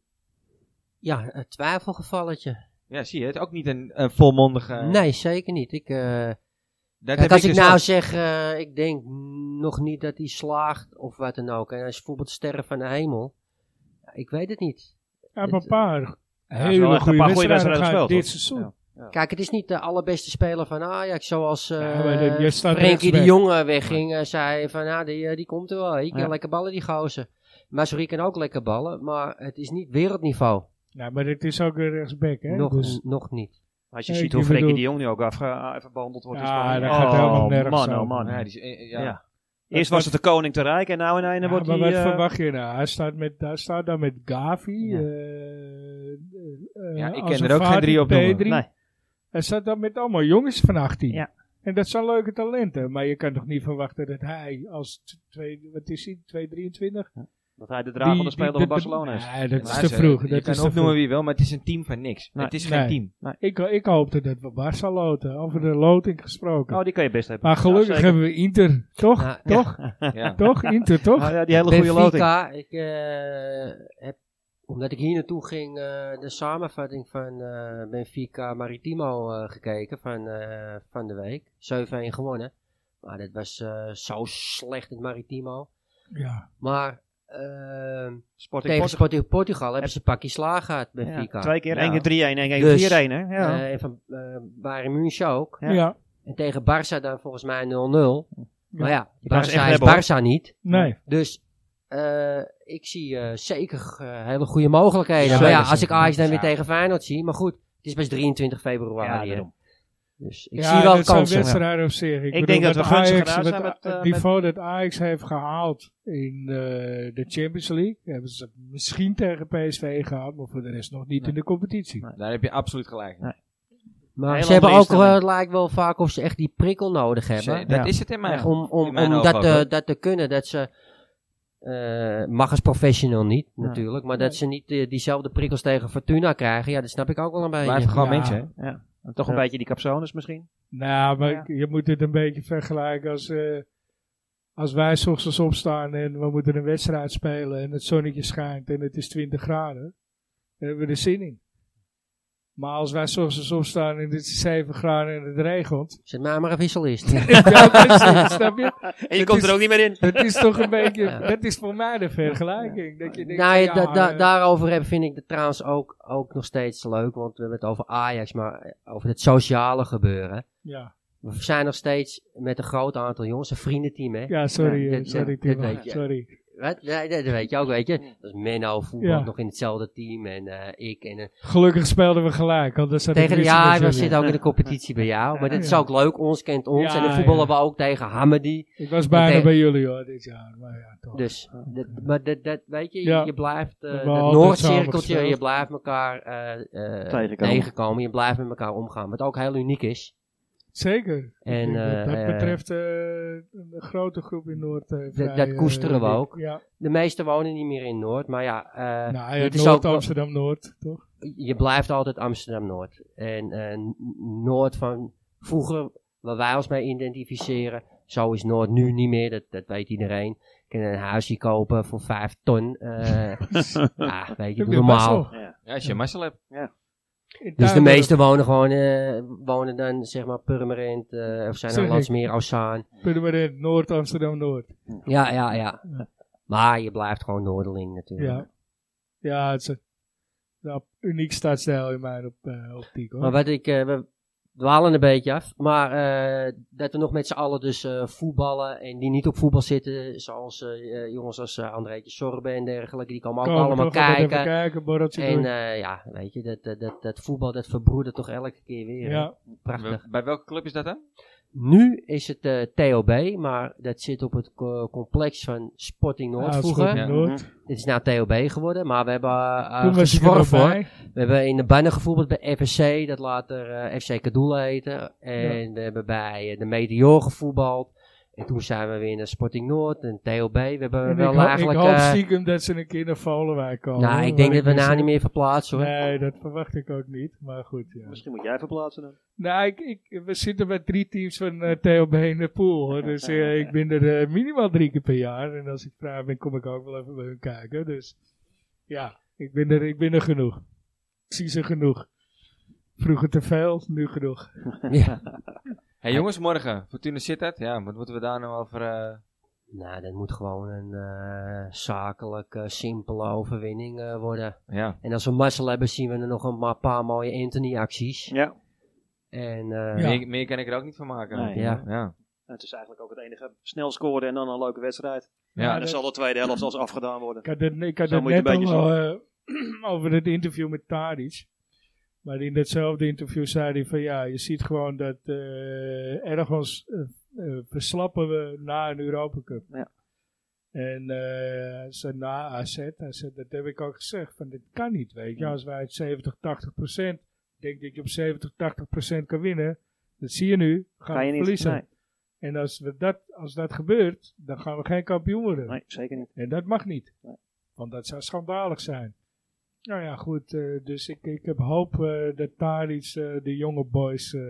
S4: Ja, een twijfelgevalletje.
S1: Ja, zie je het? Ook niet een, een volmondige...
S4: Nee, zeker niet. Ik, eh,
S1: Dat
S4: Kijk,
S1: heb
S4: als ik
S1: dus
S4: nou
S1: ook.
S4: zeg, eh, ik denk nog niet dat hij slaagt of wat dan ook. En als bijvoorbeeld Sterren van de Hemel. Ja, ik weet het niet.
S2: Hij heeft een
S4: Het-
S2: paar
S3: hij heeft wel
S2: hele
S3: echt een
S2: goede
S3: paar
S2: wedstrijden
S3: goede wedstrijden
S2: gehad dit
S3: gespeeld,
S2: seizoen.
S3: Ja.
S4: Kijk, het is niet de allerbeste speler van Ajax. Zoals eh
S2: Ja, maar de- je staat
S4: Frenkie de
S2: rechtsback.
S4: Jonge wegging. eh, zei van, nou, die, eh, die komt er wel. Die kan
S3: Ja.
S4: lekker ballen, die gozer. Mazuri kan ook lekker ballen, maar het is niet wereldniveau.
S2: Nou, maar het is ook een rechtsback, hè?
S4: Nog,
S2: dus,
S4: nog niet.
S3: Maar als je
S2: Ja,
S3: ziet
S2: ik
S3: hoe
S2: bedoel-
S3: Frenkie de Jong nu ook afge- even behandeld wordt. is
S2: Ja,
S3: gewoon-
S2: daar gaat hij ook nog
S3: Oh,
S2: nergens
S3: man,
S2: over.
S3: oh, man.
S1: Ja, die is- eh, ja.
S3: Ja. Eerst was het de koning te rijk en nou en nou
S2: Ja,
S3: wordt
S2: maar
S3: hij...
S2: wat
S3: eh,
S2: verwacht je nou? Hij staat, met, hij staat daar met Gavi.
S3: Ja.
S2: eh, eh,
S1: Ja, ik
S2: als
S1: ken er
S2: een
S1: ook geen
S2: Fati,
S1: drie op noemen.
S2: Pedri.
S3: Nee.
S2: Hij staat dan met allemaal jongens van 18.
S3: Ja.
S2: En dat zijn leuke talenten. Maar je kan toch niet verwachten dat hij als t- twee, wat is hij, 223?
S3: Dat hij de dragende speler van Barcelona is.
S2: Nee, dat is
S1: Maar
S2: te
S1: ze-
S2: vroeg.
S1: Je
S2: Dat
S1: kan
S2: is te
S1: opnoemen
S2: vroeg.
S1: wie wil, maar het is een team van niks.
S3: Nee.
S1: Het is geen
S2: Nee.
S1: team.
S2: Ik, ik hoopte dat we Barça loten. Over de loting gesproken.
S3: Oh, die kan je best hebben.
S2: maar gelukkig
S3: Ja, zeker.
S2: hebben we Inter. Toch?
S4: Nou,
S2: toch?
S1: Ja.
S2: Toch?
S1: [laughs]
S2: Inter, toch?
S3: Ah, ja, die hele goede loting.
S4: Benfica, ik eh, heb, omdat ik hier naartoe ging, eh, de samenvatting van eh, Benfica Maritimo eh, gekeken van, eh, van de week. 7-1 gewonnen. Maar dat was eh, zo slecht het Maritimo.
S2: Ja.
S4: Maar eh,
S3: Sporting
S4: tegen
S3: Portugal.
S4: Sporting Portugal hebben ze een pakje slaag gehad, Benfica.
S3: Ja, twee keer.
S4: Ja.
S3: één keer 3-1, één keer 4-1.
S4: Dus,
S3: hè? Ja.
S4: Eh, en van eh Bayern München ook.
S2: Ja.
S3: Ja.
S4: En tegen Barça dan volgens mij 0-0. Maar ja,
S3: kan ze echt
S4: Barça is
S3: hebben, hoor.
S4: Barça niet.
S2: Nee.
S4: Dus eh, ik zie eh, zeker eh, hele goede mogelijkheden.
S2: Ja,
S4: maar ja,
S2: zeker,
S4: als ik Ajax dan weer
S2: zeker.
S4: tegen Feyenoord zie. Maar goed, het is pas 23 februari. hè.
S3: daarom.
S4: dus ik
S2: ja,
S4: zie wel
S2: dat zijn
S4: kansen.
S2: wedstrijden op zich. Ik,
S3: denk
S2: bedoel,
S3: dat
S2: wat
S3: we gunstig
S2: Ajax, wat
S3: gedaan zijn met, eh,
S2: het niveau dat Ajax heeft gehaald in eh, de Champions League. Hebben ze misschien tegen PSV gehaald, maar voor de rest nog niet
S3: Nee.
S2: in de competitie.
S3: Nee.
S1: Daar heb je absoluut gelijk.
S3: Ja.
S4: Maar
S3: Heel
S4: ze hebben
S3: andere
S4: ook wel, het
S3: instelling.
S4: lijkt wel vaak of ze echt die prikkel nodig
S1: Ze-
S4: hebben.
S1: Dat
S3: Ja.
S1: is het in mijn geval.
S4: om om,
S1: in mijn
S4: om
S1: ogen
S4: dat,
S1: ook,
S4: eh,
S1: hoor.
S4: dat te kunnen. Dat ze, eh, mag als professional niet
S3: Ja.
S4: natuurlijk. Maar dat
S2: Nee.
S4: ze niet eh, diezelfde prikkels tegen Fortuna krijgen. Ja, dat snap ik ook wel een beetje.
S1: Blijven gewoon
S2: Ja.
S1: mensen, hè?
S3: En toch een beetje die capsones misschien.
S2: Nou, maar
S3: Ja.
S2: je moet het een beetje vergelijken als, eh, als wij 's ochtends opstaan en we moeten een wedstrijd spelen en het zonnetje schijnt en het is 20 graden. Dan hebben we er zin in. Maar als wij 's ochtends opstaan en het is 7 graden en het regent. [laughs]
S4: Zet mij maar een wisselist.
S3: [laughs]
S2: ja, precies, snap je?
S3: En je
S2: Het
S3: komt
S2: is-
S3: er ook niet meer in.
S2: Dat is toch
S4: [laughs]
S2: een beetje,
S4: Ja.
S2: dat is voor mij de vergelijking. Dat je denkt,
S4: Nou, ja,
S2: van,
S4: da-
S2: ja,
S4: da-
S2: eh,
S4: daarover heb, vind ik het trouwens ook, ook nog steeds leuk. Want we hebben het over Ajax, maar eh, over het sociale gebeuren.
S2: ja.
S4: We zijn nog steeds met een groot aantal jongens, een vriendenteam hè.
S2: ja, sorry,
S4: Ja,
S2: eh,
S4: dit-
S2: sorry
S4: dit
S2: Timo,
S4: weet je.
S2: sorry.
S4: Wat? Ja, dat weet je ook, weet je. Dat is Menno, voetbal
S2: Ja.
S4: nog in hetzelfde team en eh, ik. En, eh,
S2: Gelukkig speelden we gelijk. Want dan zat ik
S4: tegen de,
S2: rustig
S4: ja,
S2: in
S4: we
S2: Brazilië.
S4: zitten ook in de competitie bij jou. Maar dat is
S2: Ja.
S4: ook leuk, ons kent ons.
S2: Ja,
S4: en dan
S2: ja.
S4: voetballen we ook tegen Hamadi.
S2: Ik was bijna
S4: tegen-
S2: bij jullie hoor, dit jaar. Maar ja, toch.
S4: Dus, dat, maar dat, dat, weet je,
S2: Ja.
S4: je blijft eh
S2: hebben
S4: dat
S2: altijd samen
S4: Noordcirkeltje,
S2: gespeeld.
S4: je blijft elkaar eh, eh,
S3: Tegenkomen.
S4: tegenkomen. Je blijft met elkaar omgaan, wat ook heel uniek is.
S2: Zeker.
S4: En,
S2: Ik denk dat, dat
S4: eh,
S2: betreft eh, een grote groep in Noord. eh, vrij,
S4: dat
S2: eh,
S4: koesteren we
S2: uniek.
S4: ook.
S2: Ja.
S4: De meesten wonen niet meer in Noord, maar ja, eh,
S2: nou, ja
S4: dit is ook,
S2: Noord, Amsterdam Noord, toch?
S4: je blijft altijd Amsterdam-Noord. En eh, N- Noord van vroeger, waar wij ons mee identificeren, zo is Noord nu niet meer, dat, dat weet iedereen. Je kan een huisje kopen voor vijf
S2: [laughs]
S4: ton. eh, ja, weet je,
S2: Ik ben
S4: doe
S2: best
S4: normaal.
S2: wel
S3: Ja.
S1: Ja, als je mazzel hebt.
S2: in
S4: Dus de
S2: Tuindorp.
S4: meesten wonen gewoon, eh, wonen dan zeg maar Purmerend, eh, of zijn
S2: Zeg
S4: er
S2: ik.
S4: Landsmeer, Ozaan.
S2: Purmerend, Noord, Amsterdam Noord.
S4: Ja, ja, ja. Maar je blijft gewoon Noorderling natuurlijk.
S2: Ja. Ja, het is een, een uniek startstijl in mijn op, eh, optiek hoor.
S4: Maar wat ik, eh, we dwalen een beetje af. Maar eh, dat we nog met z'n allen dus eh, voetballen en die niet op voetbal zitten. Zoals eh, eh, jongens als eh Andreetje Sorbe en dergelijke. Die komen ook
S2: Komen
S4: allemaal
S2: toch altijd
S4: kijken.
S2: Even kijken, borreltje
S4: En
S2: doen.
S4: eh, ja, weet je, dat, dat, dat, dat voetbal dat verbroedert toch elke keer weer. hè?
S2: ja,
S4: Prachtig.
S1: Bij welke club is dat dan?
S4: Nu is het eh, TOB, maar dat zit op het co- complex van Sporting Noord
S2: ja,
S4: vroeger.
S2: Sporting Noord.
S4: Dit is nou TOB geworden, maar we hebben eh,
S2: Toen
S4: eh
S2: was ik er nog
S4: gezworven hoor.
S2: bij.
S4: We hebben in de bannen gevoetbald bij FSC, dat later eh, FC Kadoel heette. En we hebben bij eh, de Meteor gevoetbald. En toen zijn we weer naar Sporting Noord en TOB. We hebben
S2: En
S4: wel
S2: ik, ho-
S4: eigenlijk...
S2: ik hoop
S4: eh,
S2: stiekem dat ze een keer naar Volenwijk komen.
S4: nou,
S2: hoor,
S4: ik denk
S2: waar
S4: dat we
S2: mis-
S4: nou niet meer verplaatsen hoor.
S2: Nee, dat verwacht ik ook niet. Maar goed, ja.
S3: Misschien moet jij verplaatsen dan.
S2: Nou, ik, ik, we zitten met drie teams van eh TOB in de pool. Hoor. Dus eh, ik ben er eh, minimaal drie keer per jaar. En als ik vrij ben, kom ik ook wel even bij hun kijken. Dus ja, ik ben er, ik ben er genoeg. Ik zie ze genoeg. Vroeger te veel, nu genoeg.
S4: [laughs] Ja.
S1: Hey jongens, morgen. Fortuna Sittard. Ja, wat moeten we daar nou over... eh,
S4: Nou, dat moet gewoon een eh, zakelijk, eh, simpele overwinning eh, worden.
S1: ja.
S4: En als we mazzel hebben, zien we er nog een ma- paar mooie Anthony-acties.
S3: Ja.
S4: En eh,
S2: Ja.
S1: Meer, meer kan ik er ook niet van maken.
S3: Nee.
S4: Ja.
S1: ja.
S3: Het is eigenlijk ook het enige. Snel scoren en dan een leuke wedstrijd.
S1: Ja,
S3: en dan zal de tweede helft zelfs afgedaan worden.
S2: Ik had het, ik had
S3: Zo
S2: het
S3: moet je
S2: net
S3: een beetje
S2: al eh, [clears throat] over het interview met Tadic. Maar in datzelfde interview zei hij van ja, je ziet gewoon dat eh, ergens eh, eh, verslappen we na een Europa Cup.
S3: Ja.
S2: En eh, hij zei na AZ, hij zei, dat heb ik al gezegd, van dit kan niet, weet je. Als wij het 70, 80 procent, denk dat je op 70, 80 procent kan winnen, dat zie je nu, gaan
S3: Ga je
S2: we
S3: niet
S2: verliezen.
S3: Nee,
S2: En als, we dat, als dat gebeurt, dan gaan we geen kampioen worden.
S3: nee, zeker niet.
S2: En dat mag niet.
S3: Nee.
S2: Want dat zou schandalig zijn. Nou ja, goed. eh, dus ik, ik heb hoop eh, dat Tadic eh, de jonge boys eh,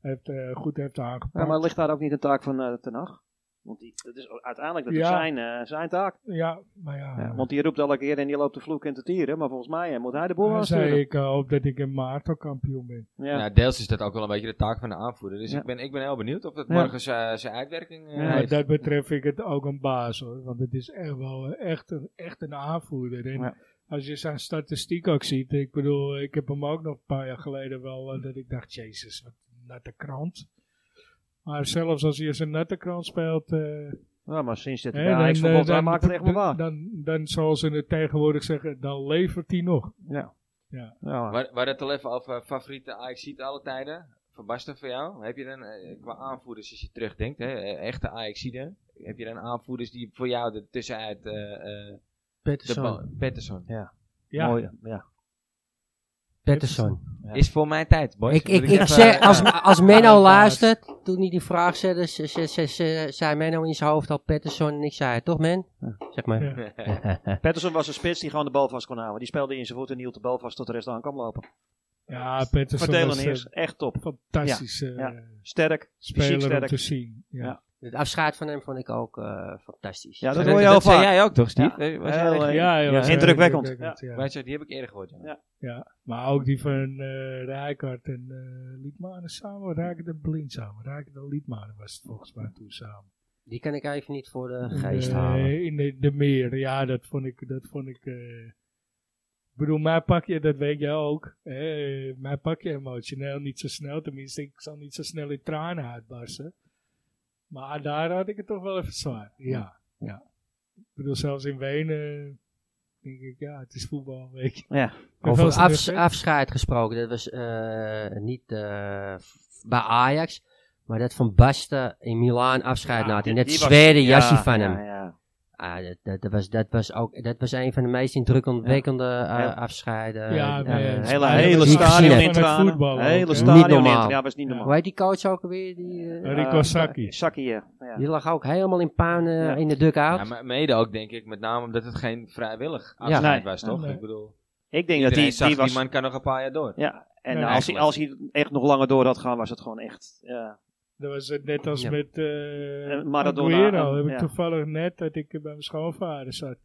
S2: heeft, eh, goed heeft
S3: Ja,
S2: aangepakt.
S3: maar ligt daar ook niet een taak van eh Ten Hag? Want die, dat is uiteindelijk dat is
S2: Ja.
S3: zijn, eh, zijn taak.
S2: ja, maar ja.
S3: Ja, want die roept elke keer en die loopt de vloek en te tieren. Maar volgens mij eh, moet hij de boel
S2: dan zei
S3: aansturen.
S2: ik eh, hoop dat ik in maart al kampioen ben.
S3: Ja.
S1: Nou, deels is dat ook wel een beetje de taak van de aanvoerder. Dus
S3: Ja.
S1: ik, ben, ik ben heel benieuwd of dat
S3: Ja.
S1: morgen zijn zijn uitwerking eh,
S3: Ja,
S2: Wat
S1: heeft.
S2: dat betreft vind ik het ook een baas hoor. Want het is echt wel eh, echt, een- echt een aanvoerder. En
S3: Ja.
S2: als je zijn statistiek ook ziet. Ik bedoel, ik heb hem ook nog een paar jaar geleden wel. eh, dat ik dacht, jezus, wat een natte krant. Maar zelfs als hij eens een natte krant speelt. eh,
S3: Ja, maar sinds dit
S2: hè,
S3: ja, hij is verbod,
S2: eh,
S3: hij maakt het echt wel waar.
S2: Dan, dan, zoals ze het tegenwoordig zeggen, dan levert hij nog.
S3: Ja.
S2: Ja.
S1: We we hadden het al even over eh, favoriete ajax alle tijden. Van Basten voor jou. Heb je dan, eh, qua aanvoerders, als je terugdenkt, hè, eh, echte ajax Heb je dan aanvoerders die voor jou er tussenuit... eh eh, de
S4: Pettersson.
S1: bal- Pettersson.
S2: Ja,
S3: Mooi, ja.
S4: Pettersson.
S3: Ja.
S1: Is voor mijn tijd, boys.
S4: Ik, ik,
S1: Moet even-
S4: ik
S1: eh,
S3: eh,
S4: zeg,
S1: [laughs]
S4: als,
S1: ja.
S4: als
S2: Ja,
S4: Menno
S2: inderdaad.
S4: luistert, toen hij die vraag stelde, ze, ze, ze, ze- zei Menno in zijn hoofd al Patterson en ik zei het, toch men? Zeg maar.
S2: Ja.
S3: Patterson was een spits die gewoon de bal vast kon houden. Die speelde in zijn voet en hield de bal vast tot de rest aan kan lopen.
S2: ja Pettersson
S3: Verdelen
S2: is
S3: is echt top.
S2: fantastisch eh,
S3: ja. Sterk.
S2: speler om
S3: sterk.
S2: te zien. Ja.
S3: Ja.
S4: [laughs] Het afscheid van hem vond ik ook eh, fantastisch.
S3: Ja,
S4: Ja,
S3: dat
S1: Dat-
S3: hoor je
S1: dat
S3: heel
S1: zei
S3: vaak.
S1: jij ook toch, Steve?
S3: Ja.
S1: Eh, was jij
S3: Heel,
S1: er-
S3: eh,
S2: Ja,
S3: Ja, indrukwekkend.
S2: ja.
S1: Wij zeggen, die heb ik eerder gehoord. Ja.
S3: Ja.
S2: Maar ook die van eh Rijkaard en eh Liedmanen samen. Rijkaard en Blind samen. Rijkaard en Liedmanen was het volgens mij toen samen.
S4: Die kan ik even niet voor de
S2: In
S4: geest
S2: de-
S4: halen.
S2: In de, de meer, ja, dat vond ik... Dat vond ik eh, ik bedoel, mijn pakje, dat weet jij ook. Eh, mijn pakje emotioneel niet zo snel. Tenminste, ik zal niet zo snel in tranen uitbarsten. Maar daar had ik het toch wel even zwaar. Ja, ja. Ik bedoel, zelfs in Wenen denk ik, ja, het is voetbal, weet je.
S3: Ja.
S4: Over
S2: Hoeveel
S4: afs- afscheid gesproken, dat was eh, niet eh, f- bij Ajax, maar dat van Basten in Milaan afscheid
S3: Ja,
S4: na had.
S3: die-
S4: En dat
S3: die was-
S4: zware
S3: ja,
S4: jasje van
S3: ja,
S4: hem.
S3: ja.
S4: Ah, dat, dat, dat was, dat, was ook, dat was een van de meest indrukwekkende eh,
S3: Ja.
S4: afscheiden.
S2: Ja,
S4: eh,
S2: ja,
S3: Het
S4: eh,
S3: hele,
S2: Ja,
S3: hele
S2: dat is
S4: gezien
S3: stadion
S4: heb.
S2: Van
S3: in
S2: het
S3: tranen.
S2: voetbal ook, hè.
S3: hele
S2: Niet
S3: stadion in
S4: normaal.
S3: tranen. Ja, was niet normaal.
S4: Hoe heet die coach ook alweer? Die, eh,
S2: Rico
S3: Eh,
S2: Sacchi.
S3: Sacchi, ja. ja.
S4: die lag ook helemaal in puin eh,
S3: Ja.
S4: in de dugout.
S1: Ja, maar mede ook, denk ik, met name omdat het geen vrijwillig afscheid
S3: Nee.
S1: was, toch?
S2: Nee.
S1: Ik bedoel,
S3: Ik denk dat
S1: iedereen
S3: die,
S1: zag,
S3: die
S1: die,
S3: was...
S1: man kan nog een paar jaar door.
S3: Ja, en
S2: Ja,
S3: als, hij,
S1: eigenlijk.
S3: als hij echt nog langer door had gaan, was het gewoon echt... Ja,
S2: Dat was het net als
S4: Ja.
S2: met eh
S3: En Maradona,
S2: Aguero.
S3: en-
S2: heb ik
S3: ja.
S2: toevallig net dat ik bij mijn schoonvader zat.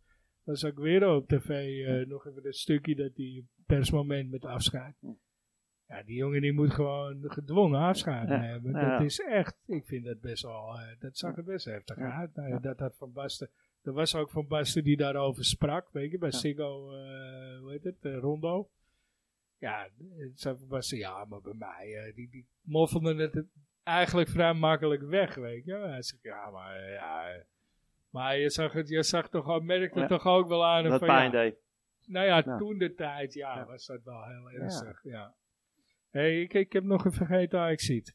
S2: Was Aguero op tv eh, nog even dat stukje dat hij persmoment met afscheid.
S3: Ja.
S2: Ja, die jongen die moet gewoon gedwongen afscheid
S3: Ja.
S2: hebben.
S3: Ja,
S2: Dat
S3: ja.
S2: is echt, ik vind dat best wel, eh, dat zag er best heftig
S3: Ja.
S2: uit. Nou,
S3: Ja.
S2: ja, dat had Van Basten, er was ook Van Basten die daarover sprak, weet je, bij
S3: Ja.
S2: Siggo, eh, hoe heet het, eh, Rondo. Ja, eh, zei Van Basten, ja, maar bij mij, eh, die, die moffelde het eigenlijk vrij makkelijk weg, weet je. Hij zegt, ja, maar eh, ja. eh. Maar je zag het, je zag toch al, merkte
S3: Ja.
S2: toch ook wel aan hem
S3: dat
S2: van,
S3: pijn
S2: ja,
S3: deed.
S2: nou ja,
S3: Ja.
S2: toen de tijd, ja,
S3: Ja.
S2: was dat wel heel ernstig, ja. hey, ik, ik heb nog een vergeten Ajaxiet.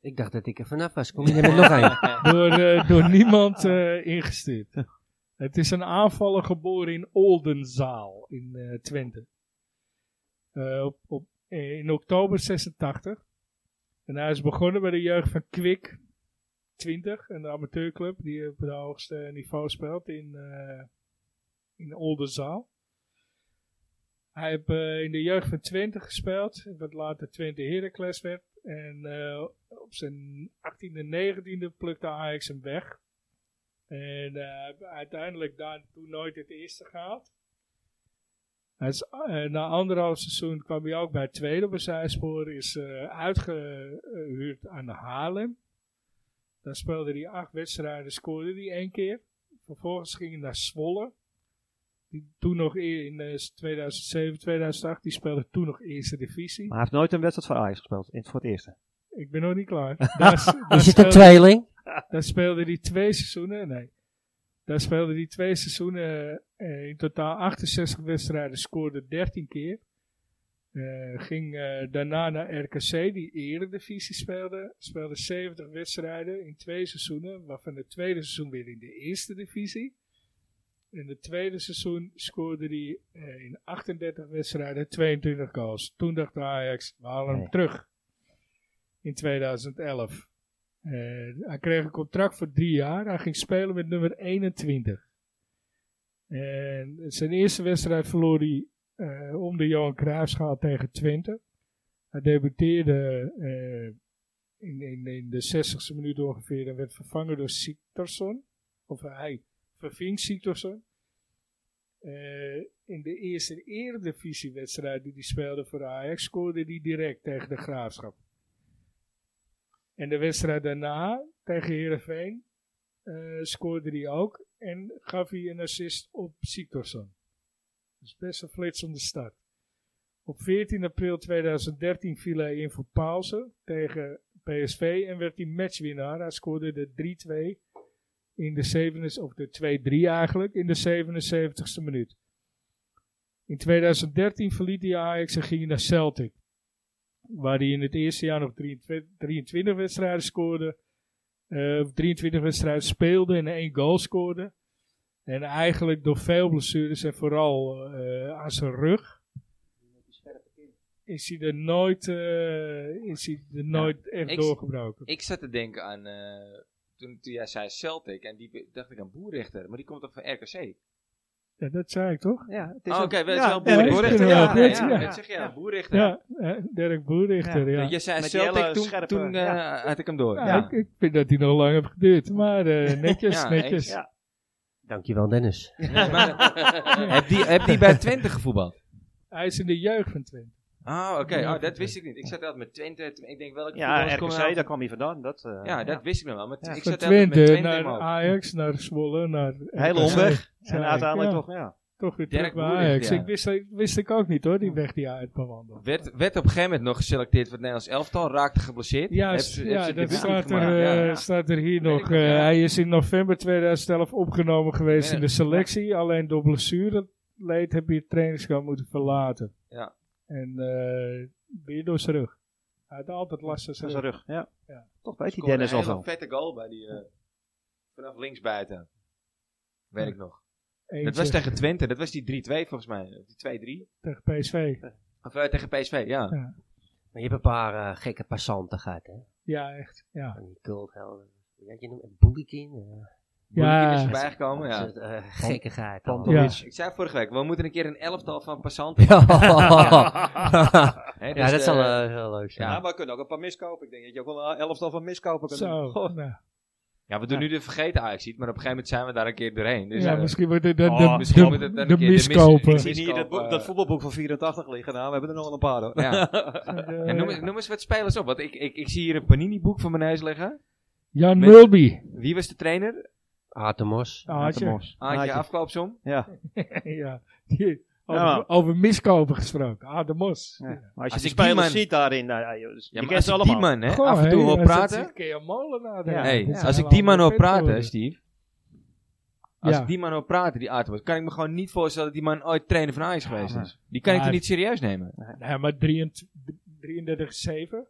S4: Ik dacht dat ik er vanaf was. Kom je er met
S2: [laughs]
S4: nog een?
S2: Door, eh, door niemand eh, ingestuurd. Het is een aanvaller geboren in Oldenzaal in eh, Twente. Eh, op, op, eh, in oktober 86. En hij is begonnen bij de jeugd van Kwik 20. Een amateurclub die op het hoogste niveau speelt in, eh in Oldenzaal. Hij heeft eh, in de jeugd van Twente gespeeld, wat later Twente Heracles werd. En eh, op zijn 18e, 19e plukte Ajax hem weg. En eh, uiteindelijk daar toen nooit het eerste gehaald. Hij is, eh, na anderhalf seizoen kwam hij ook bij het tweede op een zijspoor. Is eh, uitgehuurd aan de Haarlem. Daar speelde hij acht wedstrijden, scoorde hij één keer. Vervolgens ging hij naar Zwolle. Die toen nog eer- in eh, 2007, 2008, die speelde toen nog eerste divisie.
S3: Maar hij heeft nooit een wedstrijd voor Ajax gespeeld, in, voor het eerste.
S2: Ik ben nog niet klaar. Daar, s- daar eh,
S4: Is het
S2: speelde-
S4: een tweeling?
S2: [laughs] daar speelde hij twee seizoenen, nee. Daar speelde hij twee seizoenen eh, in totaal 68 wedstrijden, scoorde 13 keer. Eh, ging eh, daarna naar RKC, die eredivisie speelde. Speelde 70 wedstrijden in twee seizoenen, waarvan het tweede seizoen weer in de eerste divisie. In het tweede seizoen scoorde hij eh, in 38 wedstrijden 22 goals. Toen dacht Ajax, we halen hem
S3: Nee.
S2: terug. In 2011. Eh, hij kreeg een contract voor drie jaar. Hij ging spelen met nummer 21. En zijn eerste wedstrijd verloor hij eh, om de Johan Cruijffschaal tegen Twente. Hij debuteerde eh, in, in, in de 60ste minuut ongeveer en werd vervangen door Siktorsson. Of hij verving Siktorsson. Eh, in de eerste eredivisiewedstrijd die hij speelde voor Ajax scoorde hij direct tegen de Graafschap. En de wedstrijd daarna tegen Heerenveen eh, scoorde hij ook en gaf hij een assist op Siktorsson. Dus best een flitsende start. Op 14 april 2013 viel hij in voor Paulsen tegen PSV en werd hij matchwinnaar. Hij scoorde de 3-2 in de 7 of de 2-3 eigenlijk in de 77ste minuut. In 2013 verliet hij Ajax en ging hij naar Celtic waar hij in het eerste jaar nog 23, 23 wedstrijden scoorde. eh, 23 wedstrijden speelde en één goal scoorde. En eigenlijk door veel blessures en vooral eh, aan zijn rug. Is hij er nooit, eh, is hij er nooit echt
S1: ik-
S2: doorgebroken.
S1: Ik zat te denken aan, eh, toen, toen jij zei Celtic, en die be- dacht ik aan Boerrichter, maar die komt toch van RKC?
S2: Ja, dat zei ik toch?
S3: Ja, het
S1: Oh, oké, dat is
S3: ja,
S1: wel
S3: ja,
S2: dat
S1: Boerrichter.
S2: kunnen
S1: Ja,
S2: we wel
S1: ja,
S2: goed,
S1: ja,
S2: ja.
S1: dat zeg je,
S3: Ja.
S1: Boerrichter.
S2: Ja, eh, Dirk Boerichter. Ja.
S1: Je zei
S3: Met die hele
S1: Celtic, toen,
S3: scherpe-
S1: toen eh, had ik hem door.
S2: Ja,
S1: Ja.
S2: Ik, ik vind dat hij nog lang heeft geduurd. Maar eh, netjes,
S1: Ja,
S2: netjes.
S1: eens,
S3: ja.
S4: Dankjewel Dennis.
S1: Nee, maar- heb, die, heb die bij Twente gevoetbald?
S2: Hij is in de jeugd van Twente.
S1: Ah, oké, ah, dat wist ik niet. Ik zat altijd met Twente, ik denk welke
S3: Ja,
S1: voetballers komen
S3: RKC,
S1: nou-
S3: daar kwam hij vandaan. Dat, eh,
S1: Ja, dat wist ik nog wel. Maar t-
S3: Ja.
S1: ik
S2: Van
S1: zat altijd met
S2: Twente
S1: Twente in
S2: naar
S1: mijn hoofd.
S2: Ajax, naar Zwolle, naar...
S3: Hele
S2: RKC.
S3: omweg.
S2: Ja,
S3: En uiteindelijk
S2: ja.
S3: toch, ja.
S2: toch weer
S1: Dirk
S2: terug bij
S1: Boer is
S2: Ajax.
S1: die
S2: Ik wist, ik- wist ik ook niet hoor, die weg die hij uit bewandelde.
S1: Werd, werd op een gegeven moment nog geselecteerd voor het Nederlands elftal, raakte geblesseerd.
S2: Ja,
S1: Heeft
S2: s-
S1: ze- heeft
S2: ja
S1: ze het
S2: dat
S1: debuut
S2: staat
S1: niet
S2: er,
S1: gemaakt.
S2: eh,
S1: Ja.
S2: staat er hier
S1: Weet
S2: nog.
S1: ik nog,
S2: eh,
S1: ja.
S2: Hij is in november 2011 opgenomen geweest
S1: Ja.
S2: in de selectie. Alleen door blessureleed heb je het trainingskamp moeten verlaten.
S1: Ja.
S2: En eh, weer door zijn rug. Hij had altijd last van zijn
S3: Zijn
S2: rug.
S3: rug, ja.
S2: Ja.
S3: Toch weet die
S1: Scoorde
S3: Dennis al
S1: een
S3: wel.
S1: hele vette goal bij die... eh, vanaf links buiten. Weet ik nog. Dat
S2: Eentje
S1: was tegen Twente. Dat was die 3-2 volgens mij. Die 2-3.
S2: tegen PSV.
S1: Of eh, tegen PSV, ja.
S4: Maar je hebt een paar eh, gekke passanten gehad, hè?
S2: Ja, echt. Ja.
S4: Van die culthelden. Ja, je noemt het Boelikin. eh,
S1: Boelikin is
S2: Ja.
S1: erbij gekomen,
S4: dat
S1: ja.
S4: soort, eh, gekkigheid. allemaal.
S2: Ja.
S1: Ik zei vorige week, we moeten een keer een elftal van
S4: [laughs]
S1: passanten.
S3: [laughs]
S1: Hè, dus,
S4: ja, dat zal
S1: eh,
S4: eh, heel leuk zijn.
S3: Ja, maar we kunnen ook een paar miskopen. Ik denk dat je ook wel een elftal van miskopen kunt
S2: Zo.
S3: doen. [laughs] Goh.
S2: nou.
S1: ja, we doen nu de vergeten ajax maar op een gegeven moment zijn we daar een keer doorheen. Dus,
S2: ja,
S1: eh,
S2: misschien wordt het de, de,
S1: oh, misschien moet
S2: de,
S1: het dan een
S2: de
S1: keer de mis-
S2: miskopen.
S1: de
S3: Ik zie hier dat, boek-
S1: eh,
S3: dat voetbalboek van 84 liggen. Nou, we hebben er nog wel een paar hoor.
S1: ja.
S2: [laughs] Eh,
S1: Ja, noem, eens- noem eens wat spelers op, want ik, ik, ik zie hier een Panini-boek voor mijn neus liggen.
S2: Jan
S1: Met-
S2: Mulby.
S1: Wie was de trainer?
S4: Atemos.
S2: Ah, had je-
S1: Aantje
S3: Aantje.
S1: afkoopsom.
S3: Ja.
S2: [laughs] ja. Die- over,
S3: Ja, man.
S2: over miskopen gesproken. Ah, de mos.
S3: Ja. Maar als
S1: Als
S3: je die
S1: ik die
S3: spelers
S1: man-
S3: ziet daarin, nou, ja, je, je
S1: Ja, maar
S3: kent
S1: als
S3: ze
S1: ik
S3: allemaal.
S1: die man hè,
S2: Goh,
S1: af en toe
S2: hè,
S1: hoor
S2: als het
S1: praten.
S2: een keer molenaar
S3: Ja,
S2: dan-
S1: hey,
S2: dat is
S1: als
S2: wel
S1: ik die
S2: een
S1: man hoor
S2: vent
S1: praten,
S2: geworden.
S1: Steve. Als
S2: Ja.
S1: ik die man hoor praten, die Atemos, kan ik me gewoon niet voorstellen dat die man ooit trainer van Ajax geweest
S3: maar-
S1: is. Die kan ik
S2: Maar-
S1: toch niet serieus nemen?
S2: Nee, maar 33 33 is 7.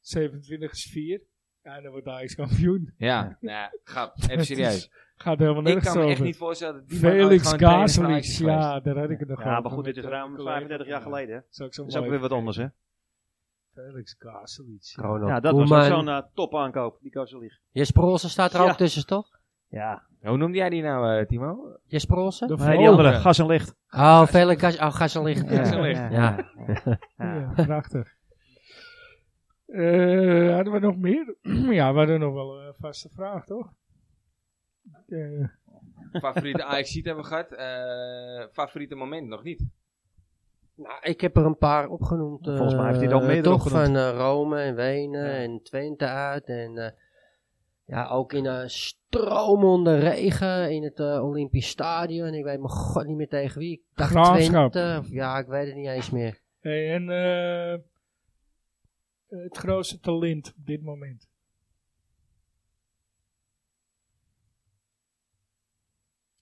S2: 27 is 4. Ja, dan wordt Ajax kampioen.
S1: Ja, nou, ga even
S2: Dat
S1: serieus.
S2: is- Gaat helemaal
S1: Ik
S2: nergens
S1: kan me echt
S2: over.
S1: niet voorstellen dat die man ooit
S2: Felix
S1: gewoon trainer van Ajax
S2: Gazelix,
S1: is geweest.
S2: ja, daar had ik het nog
S3: Ja,
S2: over
S3: maar goed,
S2: met,
S3: dit is
S2: eh,
S3: ruim
S2: een collega
S3: 35 jaar
S2: van mij.
S3: geleden. hè.
S2: Dat is ook zo
S3: Dat is ook
S2: mooi.
S3: weer wat anders, hè?
S2: Felix Gazelix.
S4: Ronald
S3: Ja, dat was ook
S4: Koeman.
S3: zo'n eh, topaankoop, die Kozelich.
S4: Jesper Olsen staat er
S3: Ja.
S4: ook tussen, toch?
S3: Ja,
S1: Hoe noemde jij die nou, eh, Timo?
S4: Jesper Olsen?
S2: De
S3: nee,
S2: vrouw.
S3: die andere,
S1: ja.
S3: gas en licht.
S4: Oh, Felix Gas... Oh, Gassenlicht.
S1: Ja.
S4: Ja.
S1: Gassenlicht.
S4: Ja.
S2: Ja, prachtig. Eh, hadden we nog meer? [clears throat] ja, we hadden nog wel een vaste vraag, toch? Eh,
S1: [laughs] Favoriete ajax hebben we gehad. eh, favoriete moment nog niet.
S4: Nou, ik heb er een paar opgenoemd. eh,
S3: Nou, Volgens mij heeft hij er al meerdere
S4: Toch
S3: opgenoemd.
S4: van eh, Rome en Wenen en Twente uit. En eh, ja, ook in een stromende regen in het eh, Olympisch Stadion. Ik weet mijn god niet meer tegen wie. Ik dacht
S2: Graafschap.
S4: Twente. of- Ja, ik weet het niet eens meer.
S2: hey, en eh, het grootste talent op dit moment.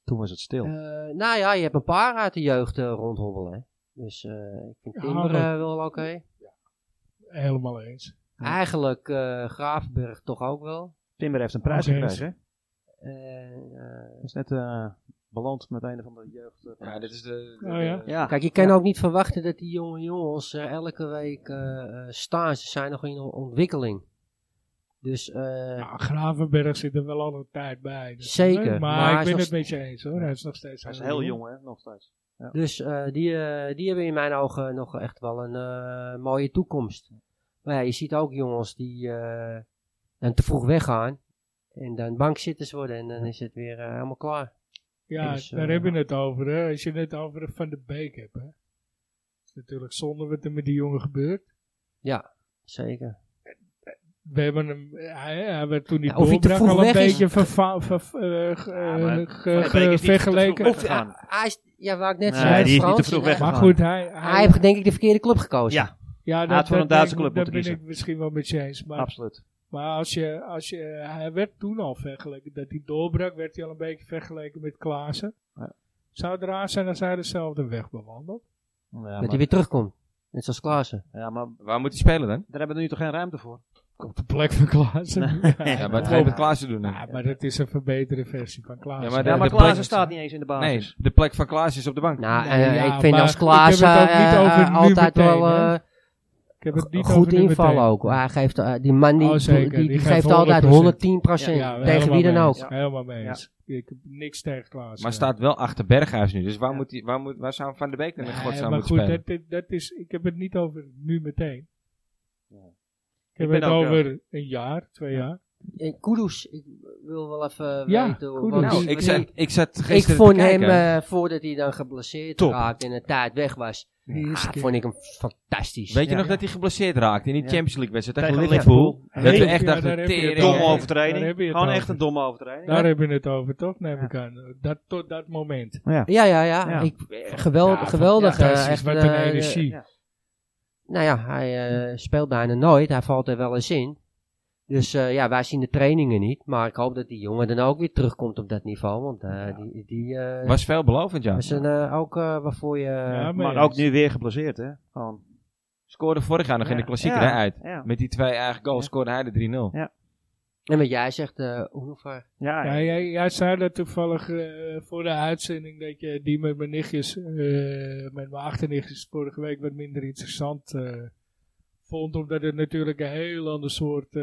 S3: Toen was het stil.
S4: Eh, nou ja, je hebt een paar uit de jeugd eh, rondhobbelen. Hè. Dus eh, ik vind
S2: Ja,
S4: Timber
S2: dat-
S4: eh, wel oké.
S2: Helemaal eens.
S4: Eigenlijk eh Graafberg toch ook wel.
S3: Timber heeft een prijs
S2: Oké.
S3: gekregen, hè?
S4: Eh, eh,
S3: Is net eh beland met een van de jeugd. eh,
S1: Ja, dit is de... de-
S2: Oh, ja.
S1: de-
S3: ja.
S4: Kijk, je kan
S3: Ja.
S4: ook niet verwachten dat die jonge jongens eh, elke week eh, eh, staan. Ze zijn nog in on- ontwikkeling. Dus eh,
S2: Nou, Gravenberg zit er wel al een tijd bij. dus,
S4: Zeker,
S2: hè, Maar,
S4: maar hij
S2: ik
S4: is
S2: ben
S4: nog
S2: het met je eens hoor. Hij is nog steeds
S3: Hij is heel jong, hè? Nog steeds.
S4: dus eh, die, eh, die hebben in mijn ogen nog echt wel een eh, mooie toekomst. Maar ja, je ziet ook jongens die eh, dan te vroeg weggaan. En dan bankzitters worden en dan is het weer eh, helemaal klaar.
S2: Ja,
S4: Dus, eh,
S2: daar hebben we het over. Hè. Als je het over Van de Beek hebt. Hè. is natuurlijk zonde wat er met die jongen gebeurt.
S4: Zeker.
S2: We hebben hem, hij, hij werd toen die
S4: Ja, of hij te
S2: doorbrak al
S4: vroeg
S2: een
S4: weg is.
S2: beetje verva- ver- eh, ge-
S3: Ja, maar
S2: eh, ge-
S3: Van de Beek is niet te
S2: vergeleken.
S3: vroeg
S4: Of,
S3: Weggegaan.
S4: hij- hij is, ja, waar ik net
S3: Nee,
S4: zei.
S3: die is niet te
S4: Frans,
S3: vroeg
S4: eh,
S3: weggegaan.
S2: maar goed, hij,
S4: Hij heeft denk ik de verkeerde club gekozen.
S3: Ja.
S2: ja, dat,
S3: had voor een
S2: dat
S3: Duitse
S2: denk ik-
S3: club moeten
S2: Dat ben
S3: kiezen.
S2: ik misschien wel met je eens. Maar,
S3: Absoluut.
S2: maar als je, als je, eh, hij werd toen al vergeleken. Dat hij doorbrak, werd hij al een beetje vergeleken met Klaassen.
S3: Ja.
S2: Zou het raar zijn als hij dezelfde weg bewandelt?
S3: Ja
S4: Dat
S3: maar,
S4: hij weer terugkomt. Net zoals Klaassen.
S3: ja, maar
S1: Waar moet hij spelen dan?
S3: daar hebben we nu toch geen ruimte voor?
S2: Op de plek van Klaassen. [laughs]
S1: Ja, maar
S2: maar
S1: het
S2: het
S1: gaat met Klaassen doen. dan.
S2: Ja, maar dat is een verbeterde versie van Klaassen.
S1: Ja, maar de-
S3: ja, maar
S1: plek-
S3: Klaassen staat niet eens in de
S1: Nee,
S3: basis.
S1: de plek van Klaas is op de bank.
S4: Nou,
S2: Nee,
S4: eh,
S2: ja,
S4: ik vind
S2: maar
S4: als
S2: ik heb het
S4: Klaassen
S2: ook niet
S4: eh,
S2: over
S4: eh,
S2: nu
S4: altijd
S2: meteen,
S4: wel
S2: hè.
S4: eh,
S2: ik heb het niet over
S4: goed
S2: nu
S4: inval
S2: meteen.
S4: ook. Hij geeft, eh, die man die,
S2: Oh, zeker.
S4: die,
S2: Die
S4: die
S2: geeft
S4: geeft altijd
S2: 110%.
S4: 110%
S2: Ja,
S4: tegen
S2: helemaal
S4: wie dan
S2: mee
S4: ook.
S2: eens. Helemaal mee eens. Ik heb niks tegen Klaassen.
S1: maar staat wel achter Berghuis nu. Dus waar, moet die, waar, moet, waar zou Van der Beek dan in
S2: Nee,
S1: godsnaam
S2: maar
S1: moeten
S2: goed,
S1: spelen?
S2: dat, dat- dat is, ik heb het niet over nu meteen.
S3: Ja.
S2: Ik heb
S3: ben
S2: het
S3: ook,
S2: over een jaar, twee jaar.
S4: En Eh, Kudus, ik- wil wel even
S2: Ja,
S4: weten hoe
S2: goed
S4: wat-
S2: Nou,
S1: Nou, ik
S2: Dus-
S4: want
S1: zat,
S4: ik-
S1: ik zat gisteren
S4: ik
S1: te
S4: vond hem,
S1: kijken.
S4: eh, voordat hij dan geblesseerd
S1: Top.
S4: raakte en een tijd weg was,
S2: De eerste
S4: ah,
S2: keer.
S4: vond ik hem fantastisch.
S1: Weet je
S5: Ja.
S1: nog dat hij geblesseerd raakte in die
S5: Ja.
S1: Champions League wedstrijd tegen
S5: Tegen
S1: Liverpool?
S5: Liverpool.
S1: Dat we
S2: Heel-
S1: echt
S2: ja, daar
S1: dachten,
S2: heb je het
S1: tering.
S2: over.
S1: hè.
S3: Domme
S2: Daar
S3: overtreding.
S2: heb je het
S3: Gewoon
S2: over.
S3: echt een domme overtreding.
S2: Daar hebben we het over, toch? Neem
S5: Ja.
S2: ik aan. Dat, tot dat moment.
S4: Ja, ja, ja.
S5: Ja.
S4: Ik, eh, geweld,
S2: Ja,
S4: geweldig. eh,
S2: fantastisch,
S4: echt,
S2: wat
S4: eh,
S2: een energie.
S5: ja.
S4: Nou ja, hij eh, speelt bijna nooit. Hij valt er wel eens in. Dus eh, ja, wij zien de trainingen niet. Maar ik hoop dat die jongen dan ook weer terugkomt op dat niveau. Want eh, die, die eh,
S1: Was veelbelovend, ja.
S4: is een, eh, ook eh, waarvoor je...
S2: Ja,
S5: Maar
S2: eens.
S5: ook nu weer geblesseerd, hè? Gewoon.
S1: Scoorde vorig jaar nog in de
S5: Ja.
S1: klassieker
S5: Ja.
S1: hè, uit.
S5: Ja.
S1: Met die twee eigen goals
S5: Ja.
S1: scoorde hij de 3-0.
S4: En wat jij zegt, eh Hoever.
S5: Ja,
S2: Ja, jij, jij zei dat toevallig eh, voor de uitzending dat je die met mijn nichtjes, eh, met mijn achternichtjes vorige week wat minder interessant eh, vond. Omdat het natuurlijk een heel ander soort eh,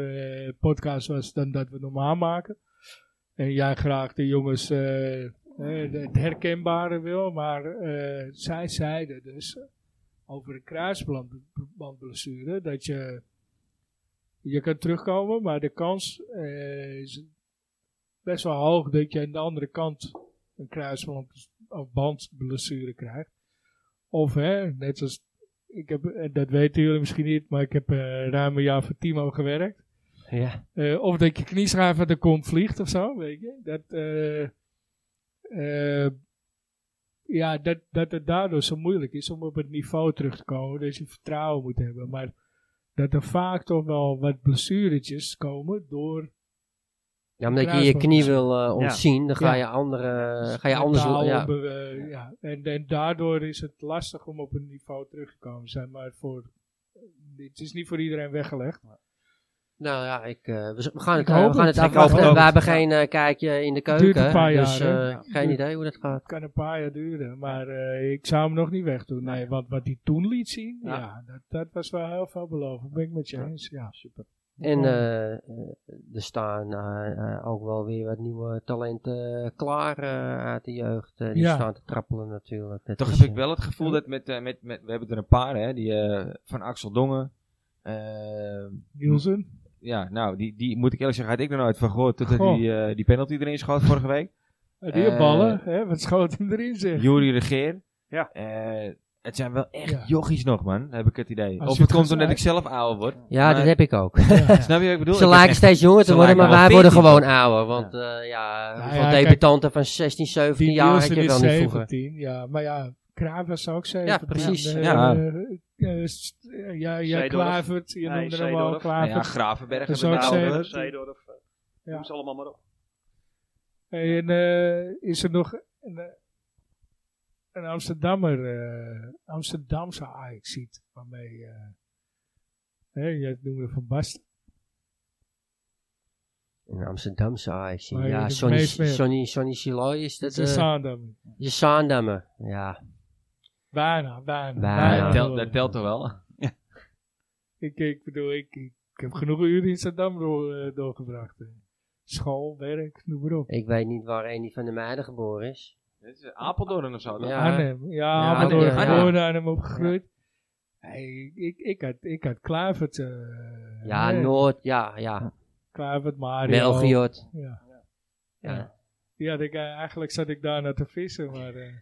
S2: podcast was dan dat we normaal maken. En jij graag de jongens eh, eh, het herkenbare wil. Maar eh, zij zeiden dus over de kruisbandblessure dat je... Je kan terugkomen, maar de kans eh, is best wel hoog dat je aan de andere kant een kruisband of bandblessure krijgt. Of hè, net zoals, ik heb, en dat weten jullie misschien niet, maar ik heb eh, ruim een jaar voor Timo gewerkt.
S4: Ja.
S2: Eh, of dat je knieschijf uit de kom vliegt of zo, weet je. Dat, eh, eh, ja, dat, dat het daardoor zo moeilijk is om op het niveau terug te komen. Dus je vertrouwen moet hebben. Maar dat er vaak toch wel wat blessuretjes komen door
S4: ja, omdat je je
S2: Kruisband.
S4: knie wil eh, ontzien, dan ga je, andere, Eh, ga je anders...
S2: Dus Mentaal
S4: Ja.
S2: hebben we, ja. En, en daardoor is het lastig om op een niveau terug te komen. Zeg maar voor, het is niet voor iedereen weggelegd.
S4: Nou ja, ik, eh, we, z- we gaan het,
S2: Ik
S4: eh,
S2: hoop
S4: we gaan
S2: het.
S4: het
S2: Ik hoop het
S4: afwachten.
S2: ook.
S4: We hebben geen eh, kijkje in de
S2: duurt
S4: keuken.
S2: een paar
S4: dus
S2: jaar, hè?
S4: eh,
S2: Ja.
S4: geen idee hoe dat gaat.
S2: Het kan een paar jaar duren, maar eh, ik zou hem nog niet wegdoen. Nee, want wat hij toen liet zien, ja,
S5: Ja.
S2: dat, dat was wel heel veelbelovend. Ben ik met je eens, ja. Super.
S4: En eh, eh, er staan eh, eh, ook wel weer wat nieuwe talenten klaar eh, uit de jeugd. eh, die
S2: Ja.
S4: staan te trappelen natuurlijk. Dat
S1: Toch
S4: is,
S1: heb ik
S4: eh,
S1: wel het gevoel dat met, eh, met, met... We hebben er een paar, hè. Die, eh, van Axel Dongen. eh,
S2: Nielsen?
S1: ja, nou, die, die moet ik eerlijk zeggen, had ik nog nooit van gehoord. Totdat
S2: Goh.
S1: hij die, eh, die penalty erin schoot vorige week.
S2: Eh, Die
S1: Eh,
S2: ballen, hè, wat schoot hem erin [laughs] zeg.
S1: Jury Regeer.
S5: Ja.
S1: Eh, het zijn wel echt
S2: Ja.
S1: jochies nog, man. Heb ik het idee.
S2: Als
S1: of
S2: je
S1: het
S2: het
S1: komt
S2: gaat-
S1: omdat ik zelf ouder word.
S4: Ja,
S1: Maar-
S4: dat heb ik
S2: [laughs]
S4: ook.
S1: Snap je wat ik bedoel?
S4: Ze
S1: Ik was
S4: lijken
S1: echt-
S4: steeds jonger
S1: ze
S4: te worden, maar
S1: lijken wel
S4: wij worden
S1: 14
S4: gewoon ouder. Want eh, ja,
S2: Ja,
S4: hoeveel
S2: ja, kijk,
S4: debutanten van 16, 17
S2: Die
S4: jaar had je
S2: Nielsen
S4: wel
S2: is
S4: niet vroeger.
S2: 17, ja. Maar ja, Kraaf was ook 17.
S4: precies,
S2: Eh,
S1: ja.
S2: eh, eh, st- eh, ja, ja,
S3: Zeedorf.
S2: Klavert, je
S3: Nee,
S2: noemde hem al
S3: Zeedorf.
S1: Nou ja,
S2: Klavert.
S1: Gravenberg
S2: Dat
S1: heb ik
S2: zou ik
S1: nou
S2: zeggen.
S1: over.
S3: Zeedorf. eh,
S2: Ja.
S3: Noem ze allemaal maar op.
S2: En eh, is er nog een, eh, een Amsterdammer, eh, Amsterdamse Ajax ziet waarmee, eh, hè, jij noemde Van Basten.
S4: In Amsterdamse AFC.
S2: Maar
S4: Ja,
S2: de
S4: Sonny,
S2: meest meer-
S4: Sonny, Sonny Siloy is dat.
S2: Ze
S4: eh,
S2: staan dan.
S4: Je Zaandammer. Ja,
S2: Bijna, bijna.
S4: Bijna.
S1: Ja,
S4: Ja,
S1: dat,
S4: ja.
S1: telt, dat telt toch wel?
S2: Ik, ik bedoel, ik, ik, ik heb genoeg uren in Amsterdam door, eh, doorgebracht. eh. School, werk, noem maar op.
S4: ik weet niet waar Eni van der Meijden geboren is.
S1: Dit is Apeldoorn of zo. toch?
S4: Ja.
S2: Arnhem. Ja,
S4: Ja,
S2: Apeldoorn
S1: Arnhem, ja.
S2: geboren, Arnhem opgegroeid. Hey, ik, ik, had, ik had Klavert. eh,
S4: Ja,
S2: hè,
S4: Noord, ja, ja.
S2: Klavert, Mario.
S4: Belgiot.
S2: Ja.
S4: Ja.
S2: Ja, ik, eh, eigenlijk zat ik daar naar te vissen, maar eh,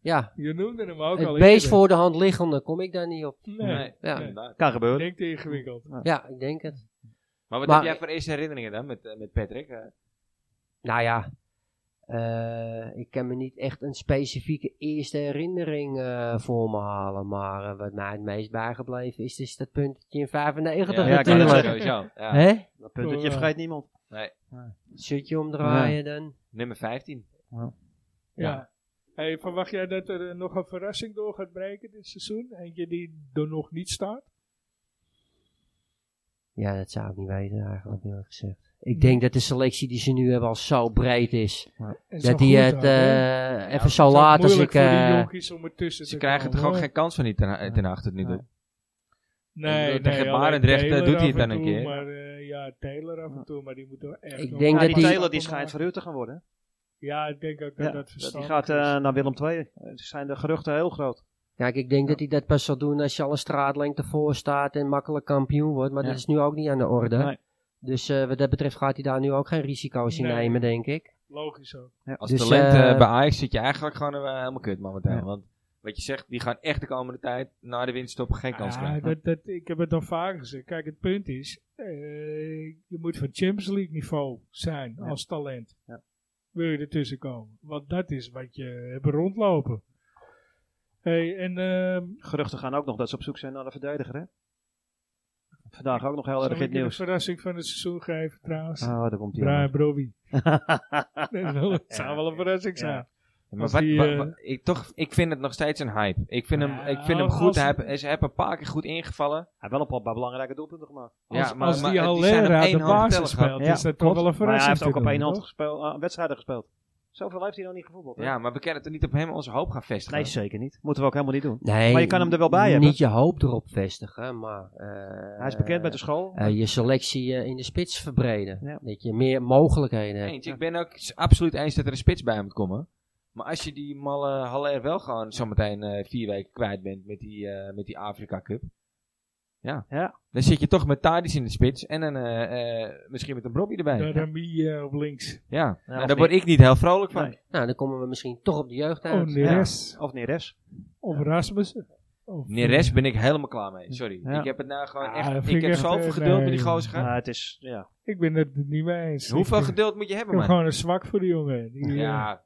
S4: ja.
S2: je noemde hem ook al
S4: Het beest
S2: eerder.
S4: voor de hand liggende kom ik daar niet op.
S2: Nee,
S1: Nee.
S4: Ja.
S1: inderdaad.
S5: kan
S2: ik
S5: gebeuren.
S2: denk te ingewikkeld.
S4: Ja, ik denk het.
S1: Maar wat
S4: Maar-
S1: heb jij voor eerste herinneringen dan met, eh, met Patrick? Eh,
S4: Nou ja, eh, ik kan me niet echt een specifieke eerste herinnering eh, voor me halen. Maar eh, wat mij het meest bijgebleven is, is dat puntje in 95
S1: ja,
S5: ik wou
S4: natuurlijk.
S5: net
S1: dat
S5: zeggen.
S1: sowieso. Ja.
S4: Hè?
S5: Dat punt dat je
S2: Ja.
S5: vergeet niemand.
S4: Zutje omdraaien dan.
S1: Nummer 15.
S2: Ja. Hey, verwacht jij dat er eh, nog een verrassing door gaat breken dit seizoen? Eentje die er nog niet staat?
S4: Ja, dat zou ik niet weten eigenlijk, eerlijk gezegd. Ik denk dat de selectie die ze nu hebben al zo breed is.
S2: En zo
S4: Dat die
S2: goed
S4: het
S2: ook,
S4: eh,
S2: hè?
S4: even
S2: Het
S4: zo
S2: is ook
S4: laat als ik...
S2: moeilijk voor die
S4: eh,
S2: jonkies om ertussen
S1: Ze
S2: te
S1: krijgen
S2: komen,
S1: toch ook
S2: hoor.
S1: geen kans van die ten, ten acht tot nu toe.
S2: Nee,
S1: Ik
S2: nee,
S1: bedoel, tegen
S2: alleen
S1: Barendrecht, eh,
S2: Taylor
S1: doet hij het
S2: af
S1: dan
S2: en
S1: een
S2: toe,
S1: keer.
S2: Maar, eh, ja, Taylor af en toe, maar die moet er echt...
S4: Ik
S2: nog-
S4: denk
S5: Ja,
S4: dat
S5: die
S4: die-
S5: Taylor die schijnt verhuurd te gaan worden. hè?
S2: Ja, ik denk ook dat
S5: Ja,
S2: dat
S5: Die
S2: verstandig
S5: gaat eh,
S2: is.
S5: naar Willem II. Eh, zijn de geruchten heel groot.
S4: Kijk, ik denk dat hij dat pas zal doen als je al een straatlengte voor staat en makkelijk kampioen wordt. Maar
S5: Ja.
S4: dat is nu ook niet aan de orde.
S5: Nee.
S4: Dus eh, wat dat betreft gaat hij daar nu ook geen risico's in
S2: Nee.
S4: nemen, denk ik.
S2: Logisch ook.
S3: Ja,
S1: Als
S4: Dus,
S1: talent
S4: eh,
S1: eh, bij Ajax zit je eigenlijk gewoon eh, helemaal kut momenteel.
S3: Ja.
S1: Want wat je zegt, die gaan echt de komende tijd na de winststop geen kans
S2: Ja,
S1: krijgen.
S2: dat, dat, ik heb het al vaker gezegd. Kijk, het punt is, eh, je moet van Champions League niveau zijn
S3: Ja.
S2: als talent.
S3: Ja.
S2: Wil je ertussen komen? Want dat is wat je hebt rondlopen. Hey, en ehm,
S3: Geruchten gaan ook nog dat ze op zoek zijn naar een verdediger, hè? Vandaag ook nog heel
S2: zal ik
S3: erg in
S2: je
S3: het
S2: de
S3: nieuws.
S2: verrassing van het seizoen geven trouwens?
S3: Ah, daar komt hij
S2: Brian Brobby. [laughs]
S3: [laughs]
S2: Dat wel- het zou wel een verrassing
S3: Ja.
S2: zijn.
S1: Maar
S2: Als
S1: wat,
S2: die,
S1: wat-
S2: eh,
S1: wat- ik, toch, ik vind het nog steeds een hype. Ik vind hem,
S2: Ja,
S1: ik vind hem
S2: als-
S1: goed. Hij
S2: als-
S1: heeft- ze hebben een paar keer goed ingevallen.
S3: Hij heeft wel een paar- paar belangrijke doelpunten gemaakt.
S2: Als,
S1: Ja, maar-
S2: als
S1: maar
S2: die
S1: het- die zijn
S2: Alera
S1: op
S2: aan
S1: één
S2: de
S1: hand
S2: basis
S1: tellen
S2: speelt,
S3: Ja,
S2: is dat toch
S3: klopt.
S2: wel een
S3: Maar hij
S2: verrassing
S3: heeft ook
S2: te
S3: op
S2: doen,
S3: één hand
S2: toch?
S3: gespeeld, ah, wedstrijden gespeeld. Zoveel heeft hij nog niet gevoetbald, hè?
S1: Ja, maar we kunnen het niet op hem onze hoop gaan vestigen.
S3: Nee, zeker niet. Moeten we ook helemaal niet doen.
S4: Nee,
S3: Maar je kan hem er wel bij hebben.
S4: Niet je hoop erop vestigen, maar... eh,
S3: Hij is bekend met de school.
S4: eh, je selectie eh, in de spits verbreden.
S3: Ja.
S4: Dat je meer mogelijkheden hebt.
S1: Eens, ik ben ook s- absoluut eens dat er een spits bij moet komen. Maar als je die malle Haller wel gewoon zometeen eh, vier weken kwijt bent met die, eh, met die Afrika Cup. Ja.
S3: Ja.
S1: Dan zit je toch met Tadis in de spits en een, eh, eh, misschien met een Brobby erbij. Ja.
S2: Darami eh, op links.
S1: Nou,
S3: of
S1: daar word ik niet heel vrolijk van.
S3: Nee.
S4: Nou, dan komen we misschien toch op de jeugd
S2: Oh,
S4: uit.
S2: Neres.
S3: Of Neres.
S2: Of Rasmussen. Of,
S1: Neres ben ik helemaal klaar mee. Sorry.
S3: Ja.
S1: Ik heb het nou gewoon
S2: Ah,
S1: echt.
S2: dat vind
S1: ik
S2: ik
S1: heb
S2: echt,
S1: zoveel
S2: eh,
S1: geduld met die
S2: nee.
S1: gozer. gehad.
S3: Maar het is, ja.
S2: Ik ben het er niet mee eens.
S1: Hoeveel
S2: Ik-
S1: geduld moet je hebben,
S2: Ik heb
S1: man?
S2: gewoon een zwak voor die jongen. Die, eh,
S1: Ja, Nou,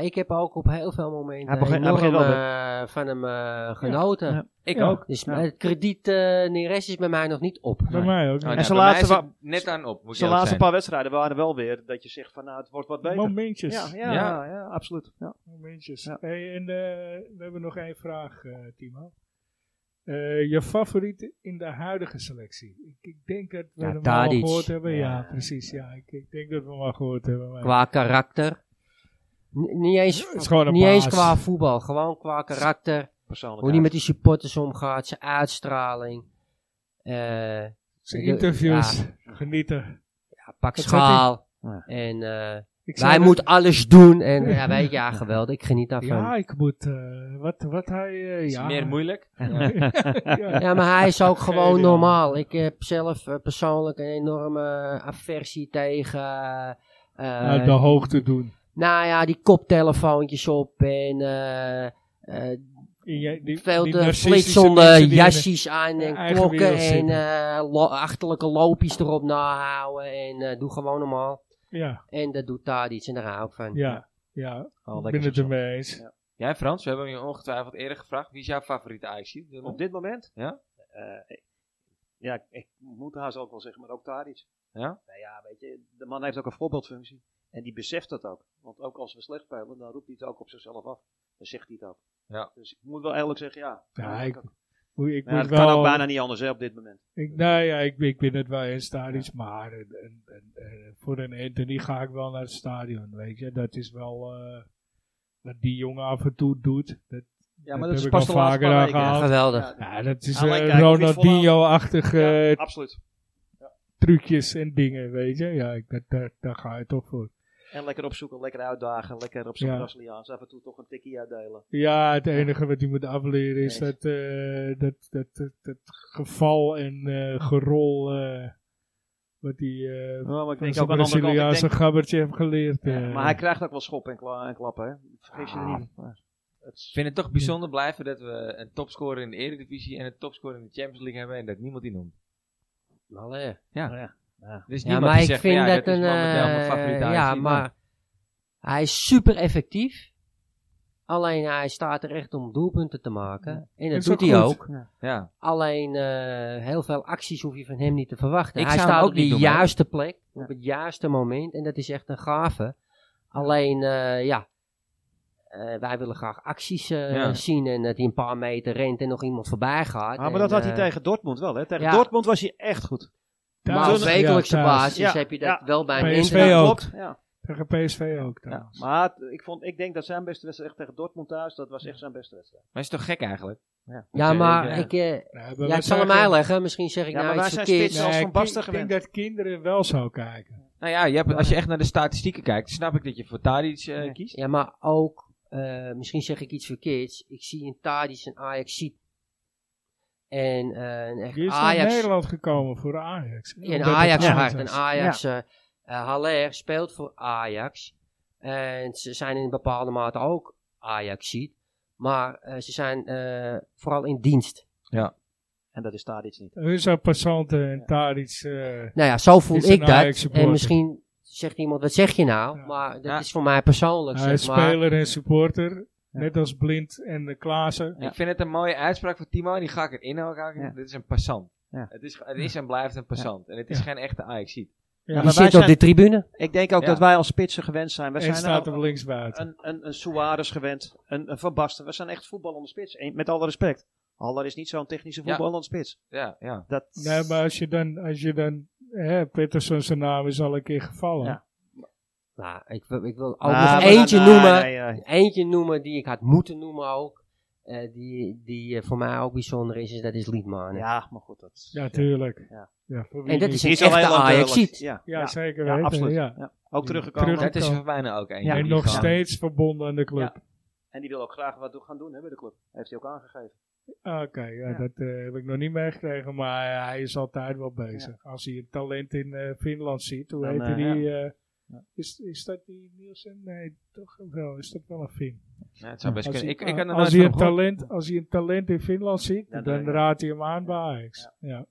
S4: Ah, ik heb ook op heel veel momenten
S3: Hij begint- hij
S4: enorm
S3: begint wel
S4: eh, van hem eh, genoten.
S3: Ja.
S1: ik
S2: Ja.
S1: ook.
S4: Dus
S3: Ja.
S4: het krediet eh Neres is bij mij nog niet op.
S2: bij mij ook.
S1: Oh, nou, bij
S2: niet.
S3: zijn
S1: mij
S3: laatste
S1: zit
S3: wa-
S1: net aan op. Moet ik
S3: Zijn
S1: eerlijk
S3: Dus laatste
S1: zijn.
S3: paar wedstrijden waren wel weer dat je zegt van nou, het wordt wat beter.
S2: Momentjes.
S3: Ja, ja,
S1: Ja.
S3: ja. absoluut. Ja.
S2: Momentjes.
S3: Ja.
S2: Hey, en eh, we hebben nog één vraag, eh, Timo. Eh, je favoriet in de huidige selectie? Ik, ik denk dat we
S4: Ja,
S2: hem al
S4: Tadic.
S2: gehoord hebben. Ja,
S4: Ja.
S2: precies. Ja, ik, ik denk dat we hem al gehoord hebben. maar-
S4: Qua karakter. N- niet eens,
S2: Het is gewoon een
S4: niet eens
S2: baas.
S4: qua voetbal, gewoon qua karakter.
S3: Persoonlijk.
S4: Hoe hij met die supporters omgaat, zijn uitstraling. Eh,
S2: Zijn
S4: Ik-
S2: interviews. Genieten.
S4: ja, pak
S2: Dat
S4: schaal.
S3: zat hij.
S4: En eh
S2: Ik zou
S4: hij
S2: dat-
S4: moet alles doen. En ja, weet je, ja, geweldig. Ik geniet daarvan.
S2: Ja,
S4: Ja,
S2: ik moet... eh, wat, wat hij... eh,
S1: Is
S2: ja.
S1: meer moeilijk. Ja.
S2: ja.
S4: maar hij
S2: [laughs]
S4: is ook gewoon
S2: Geniaal.
S4: normaal. Ik heb zelf eh, persoonlijk een enorme eh, aversie tegen... eh,
S2: Uit de hoogte doen.
S4: Nou ja, die koptelefoontjes op en eh, eh,
S2: En jij- die-
S4: veel
S2: die
S4: te
S2: narcistische
S4: flitsende
S2: mensen die-
S4: jasjes aan
S2: hun
S4: en
S2: eigen
S4: klokken
S2: wereld
S4: en
S2: zitten.
S4: eh, lo- achterlijke loopjes erop nahouden en eh, doe gewoon normaal.
S2: Ja,
S4: En dat doet daar iets en daar hou ik van.
S2: ja, ja.
S3: Oh,
S2: ik
S3: lekker
S2: ben het
S3: zo.
S2: ermee eens.
S1: Jij Frans, we hebben je ongetwijfeld eerder gevraagd. Wie is jouw favoriete ajax
S3: Op dit moment?
S1: Ja.
S3: Eh, ik- ja, ik, ik moet haast ook wel zeggen, maar ook Tadic.
S1: Ja?
S3: Nou ja, weet je, de man heeft ook een voorbeeldfunctie. En die beseft dat ook. Want ook als we slecht spelen, dan roept hij het ook op zichzelf af. Dan zegt hij het ook.
S1: Ja.
S3: Dus ik moet wel eerlijk zeggen, ja.
S2: Ja, ik,
S3: Maar
S2: moet- ik
S3: ja,
S2: moet
S3: het kan
S2: wel-
S3: ook bijna niet anders hè, op dit moment.
S2: Ik, nou ja, ik, ik ben het wel in stadions, maar een- een- een- een- voor een Anthony ga ik wel naar het stadion, weet je. Dat is wel eh, wat die jongen af en toe doet. Dat,
S3: Ja, maar
S2: Dat
S3: dat,
S2: heb
S3: is
S2: ik
S3: pas
S2: al
S3: de laatste
S2: vaker
S3: paar
S4: Ja,
S2: aangehaald.
S3: weken.
S4: geweldig.
S3: Ja,
S2: ja, dat is
S3: Alleen
S2: eh,
S3: kijken,
S2: Ronaldinho-achtige
S3: ja,
S2: eh,
S3: absoluut.
S2: trucjes en dingen, weet je. Ja, ik, dat, daar, daar ga je toch voor.
S3: En lekker opzoeken, lekker uitdagen, lekker op zijn
S2: Ja.
S3: Braziliaans. Af en toe toch een tikkie uitdelen.
S2: Ja, het enige wat hij moet afleren is
S3: Nee.
S2: dat, eh, dat, dat, dat, dat geval en eh, gerol eh, wat hij eh
S3: Ja, maar ik
S2: van
S3: denk
S2: zijn
S3: ook aan de andere kant, ik
S2: Braziliaanse
S3: denk-
S2: gabbertje heeft geleerd.
S3: Ja,
S2: eh.
S3: maar hij krijgt ook wel schop en, kla en klappen, hè? Vergis je er niet. Maar het is-
S1: Ah. Ik vind het toch bijzonder blijven dat we een topscorer in de Eredivisie en een topscorer in de Champions League hebben en dat niemand die noemt.
S4: Allee.
S1: Er is
S4: eh. Ja,
S1: niemand
S4: maar
S1: die
S4: ik
S1: zegt,
S4: vind
S1: van, ja,
S4: dat,
S1: dat
S4: een...
S1: is momenteel mijn
S4: eh,
S1: favoriete
S4: ja,
S1: Ajax-team.
S4: maar hij is super effectief. Alleen hij staat er echt om doelpunten te maken. En dat
S2: Is
S4: doet
S2: ook
S4: hij
S2: goed.
S4: ook.
S1: Ja,
S4: Alleen eh, heel veel acties hoef je van hem niet te verwachten.
S1: Ik
S4: hij
S1: zou
S4: staat
S1: hem ook
S4: op de
S1: niet doen, hoor.
S4: juiste plek, op het juiste moment. En dat is echt een gave. Alleen, eh, ja, eh, wij willen graag acties eh,
S1: Ja.
S4: zien. En dat hij een paar meter rent en nog iemand voorbij gaat.
S3: Ah, maar
S4: En,
S3: dat had hij
S4: eh,
S3: tegen Dortmund wel, hè? Tegen
S4: ja.
S3: Dortmund was hij echt goed.
S4: eh, Maar op
S2: Thuis.
S4: wekelijkse
S2: Ja, thuis.
S4: basis
S3: Ja,
S4: heb je dat
S3: ja.
S4: wel bij
S2: PSV
S4: internet.
S2: ook.
S3: Klopt. Ja.
S2: Tegen PSV ook dan.
S3: Ja. Maar het- ik, vond, ik denk dat zijn beste wedstrijd echt tegen Dortmund thuis, dat was echt zijn beste wedstrijd.
S1: maar is toch gek eigenlijk?
S4: Ja,
S1: Ja.
S4: maar ik, eh,
S2: Ja,
S4: ja, ik zal hem uitleggen. Misschien zeg ik
S3: Ja, maar
S4: nou iets
S3: wij zijn
S4: verkeerds.
S3: spitsen. zelfs Van Basten
S2: Ik denk
S3: gewend.
S2: dat kinderen wel zo kijken.
S1: Nou ja, je hebt, als je echt naar de statistieken kijkt, snap ik dat je voor Tadic eh,
S3: Nee.
S1: kiest.
S4: Ja, maar ook, eh, misschien zeg ik iets verkeerds. Ik zie in Tadic en Ajax ziet. En eh, een echt
S2: Die is naar
S4: Ajax.
S2: Nederland gekomen voor Ajax.
S4: Ja, een
S2: Omdat het
S4: Ajax
S2: goed
S4: hart.
S2: was.
S4: Een Ajax. eh eh, Haller speelt voor Ajax. En ze zijn in bepaalde mate ook Ajax ziet. Maar eh, ze zijn eh, vooral in dienst.
S5: En dat is daar iets niet.
S2: Er is al Passante en Tadic. eh,
S4: Nou ja, zo voel
S2: Is
S4: ik
S2: een
S4: dat.
S2: Ajax-supporter.
S4: En misschien zegt iemand, wat zeg je nou?
S2: Ja.
S4: Maar dat
S1: Ja.
S4: is voor mij persoonlijk,
S2: hij is
S4: zeg maar.
S2: speler en supporter. Net als Blind en de Klaassen.
S1: Ik vind het een mooie uitspraak van Timo en die ga ik erin houden.
S5: Ja.
S1: Dit is een passant.
S5: Ja.
S1: Het, is, het is en blijft een passant. En het is
S2: Ja.
S1: geen echte Ajaxiet.
S2: Ja,
S4: Die
S5: maar wij
S4: zit op
S5: zijn-
S4: de tribune.
S5: Ik denk ook
S1: Ja.
S5: dat wij als spitsen gewend zijn. We
S2: en
S5: zijn
S2: staat
S5: ook-
S2: er links buiten.
S5: een, een, een Suarez gewend, een, een Van Basten. We zijn echt voetballende spits. En met alle respect. Haller is niet zo'n technische
S1: Ja.
S5: voetballende spits.
S1: Ja, ja.
S5: Dat,
S2: Nee, maar als je dan, als je dan hè, Peterson zijn naam is al een keer gevallen.
S5: Ja.
S4: Nou, ik, wil- ik wil ook
S5: Ah,
S4: nog
S5: maar-
S4: eentje
S5: nee,
S4: noemen.
S5: nee, nee.
S4: Eentje noemen die ik had moeten noemen ook. eh, die die eh, voor mij ook bijzonder is, is dat is Liedman.
S5: Ja, maar goed. Dat,
S2: Ja, tuurlijk.
S5: Ja.
S2: voor wie
S4: En dat
S2: niet?
S4: is
S5: Die
S4: een
S5: is al
S4: echte
S5: heel lang
S4: Ajaxiet.
S5: duidelijk. Ja,
S2: ja,
S5: ja.
S2: zeker
S5: Ja,
S2: weten.
S5: absoluut.
S2: ja.
S5: Ja. Ook teruggekomen.
S2: Terug-
S1: Dat is
S2: kan.
S1: voor bijna ook één.
S5: Ja.
S1: die
S2: En nog
S1: gewoon-
S2: steeds verbonden aan de club.
S5: En die wil ook graag wat doen- gaan doen hè, bij de club. Heeft hij ook aangegeven.
S2: Ah, Oké, ja, dat eh, heb ik nog niet meegekregen, maar eh, hij is altijd wel bezig. Als hij het talent in eh, Finland ziet, hoe
S5: Dan,
S2: heette
S5: eh,
S2: die? eh, is, is dat die Nielsen? Nee, toch wel. Is dat wel een Fin?
S1: Ja, het zou best
S2: Als
S1: kunnen.
S2: hij,
S1: Ik, ik had er
S2: als,
S1: nooit
S2: hij
S1: van
S2: een
S1: hem gehoord.
S2: talent, als hij een talent in Finland ziet,
S5: Dan
S2: dan,
S5: doe je-
S2: raadt hij hem aan bij Ajax. Ja.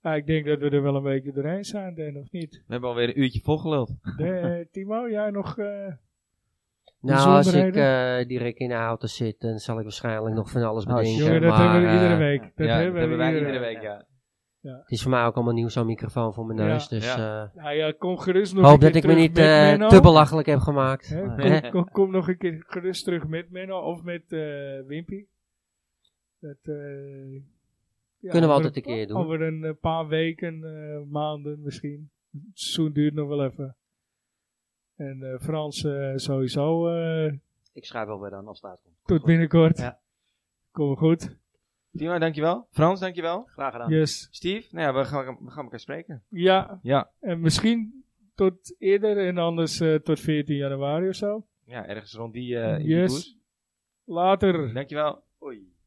S2: Ah, ik denk dat we er wel een beetje doorheen zijn, Dan, of niet? [laughs]
S1: We hebben alweer een uurtje volgeluld.
S2: De, eh, Timo, jij nog... eh,
S4: Nou, als ik
S2: Bijzonderheden?
S4: eh, direct in de auto zit, dan zal ik waarschijnlijk nog van alles
S1: Oh,
S4: bedenken.
S2: jongen, dat
S4: maar,
S2: hebben we iedere
S4: eh,
S2: week. Dat
S1: ja,
S2: hebben we eh,
S1: wij iedere
S2: week.
S1: week, ja.
S4: Het is voor mij ook allemaal nieuw, zo'n microfoon voor mijn
S2: Ja.
S4: neus. Dus
S1: Ja.
S4: eh,
S2: Nou ja, kom gerust nog
S4: hoop
S2: een
S4: dat
S2: keer
S4: ik me
S2: terug
S4: niet
S2: met
S4: eh,
S2: Menno.
S4: te belachelijk heb gemaakt.
S2: Hè,
S4: Nee.
S2: kom, kom, kom nog een keer gerust terug met Menno of met eh Wimpy. Dat, eh, ja,
S4: Kunnen we
S2: over
S4: altijd een keer doen.
S2: Over een eh, paar weken, eh, maanden misschien. Het seizoen duurt nog wel even. En eh, Frans eh, sowieso eh,
S5: Ik schrijf wel weer aan als het uitkomt.
S2: tot binnenkort.
S5: Ja.
S2: Kom goed.
S1: Timo, dankjewel. Frans, dankjewel.
S5: Graag gedaan.
S2: Yes.
S1: Steve, nou ja, we gaan, we gaan elkaar spreken.
S2: Ja,
S1: Ja.
S2: en misschien tot eerder en anders eh, tot 14 januari of zo.
S1: Ja, ergens rond die, eh in die
S2: yes.
S1: koers.
S2: Later.
S1: Dankjewel.
S5: Oei.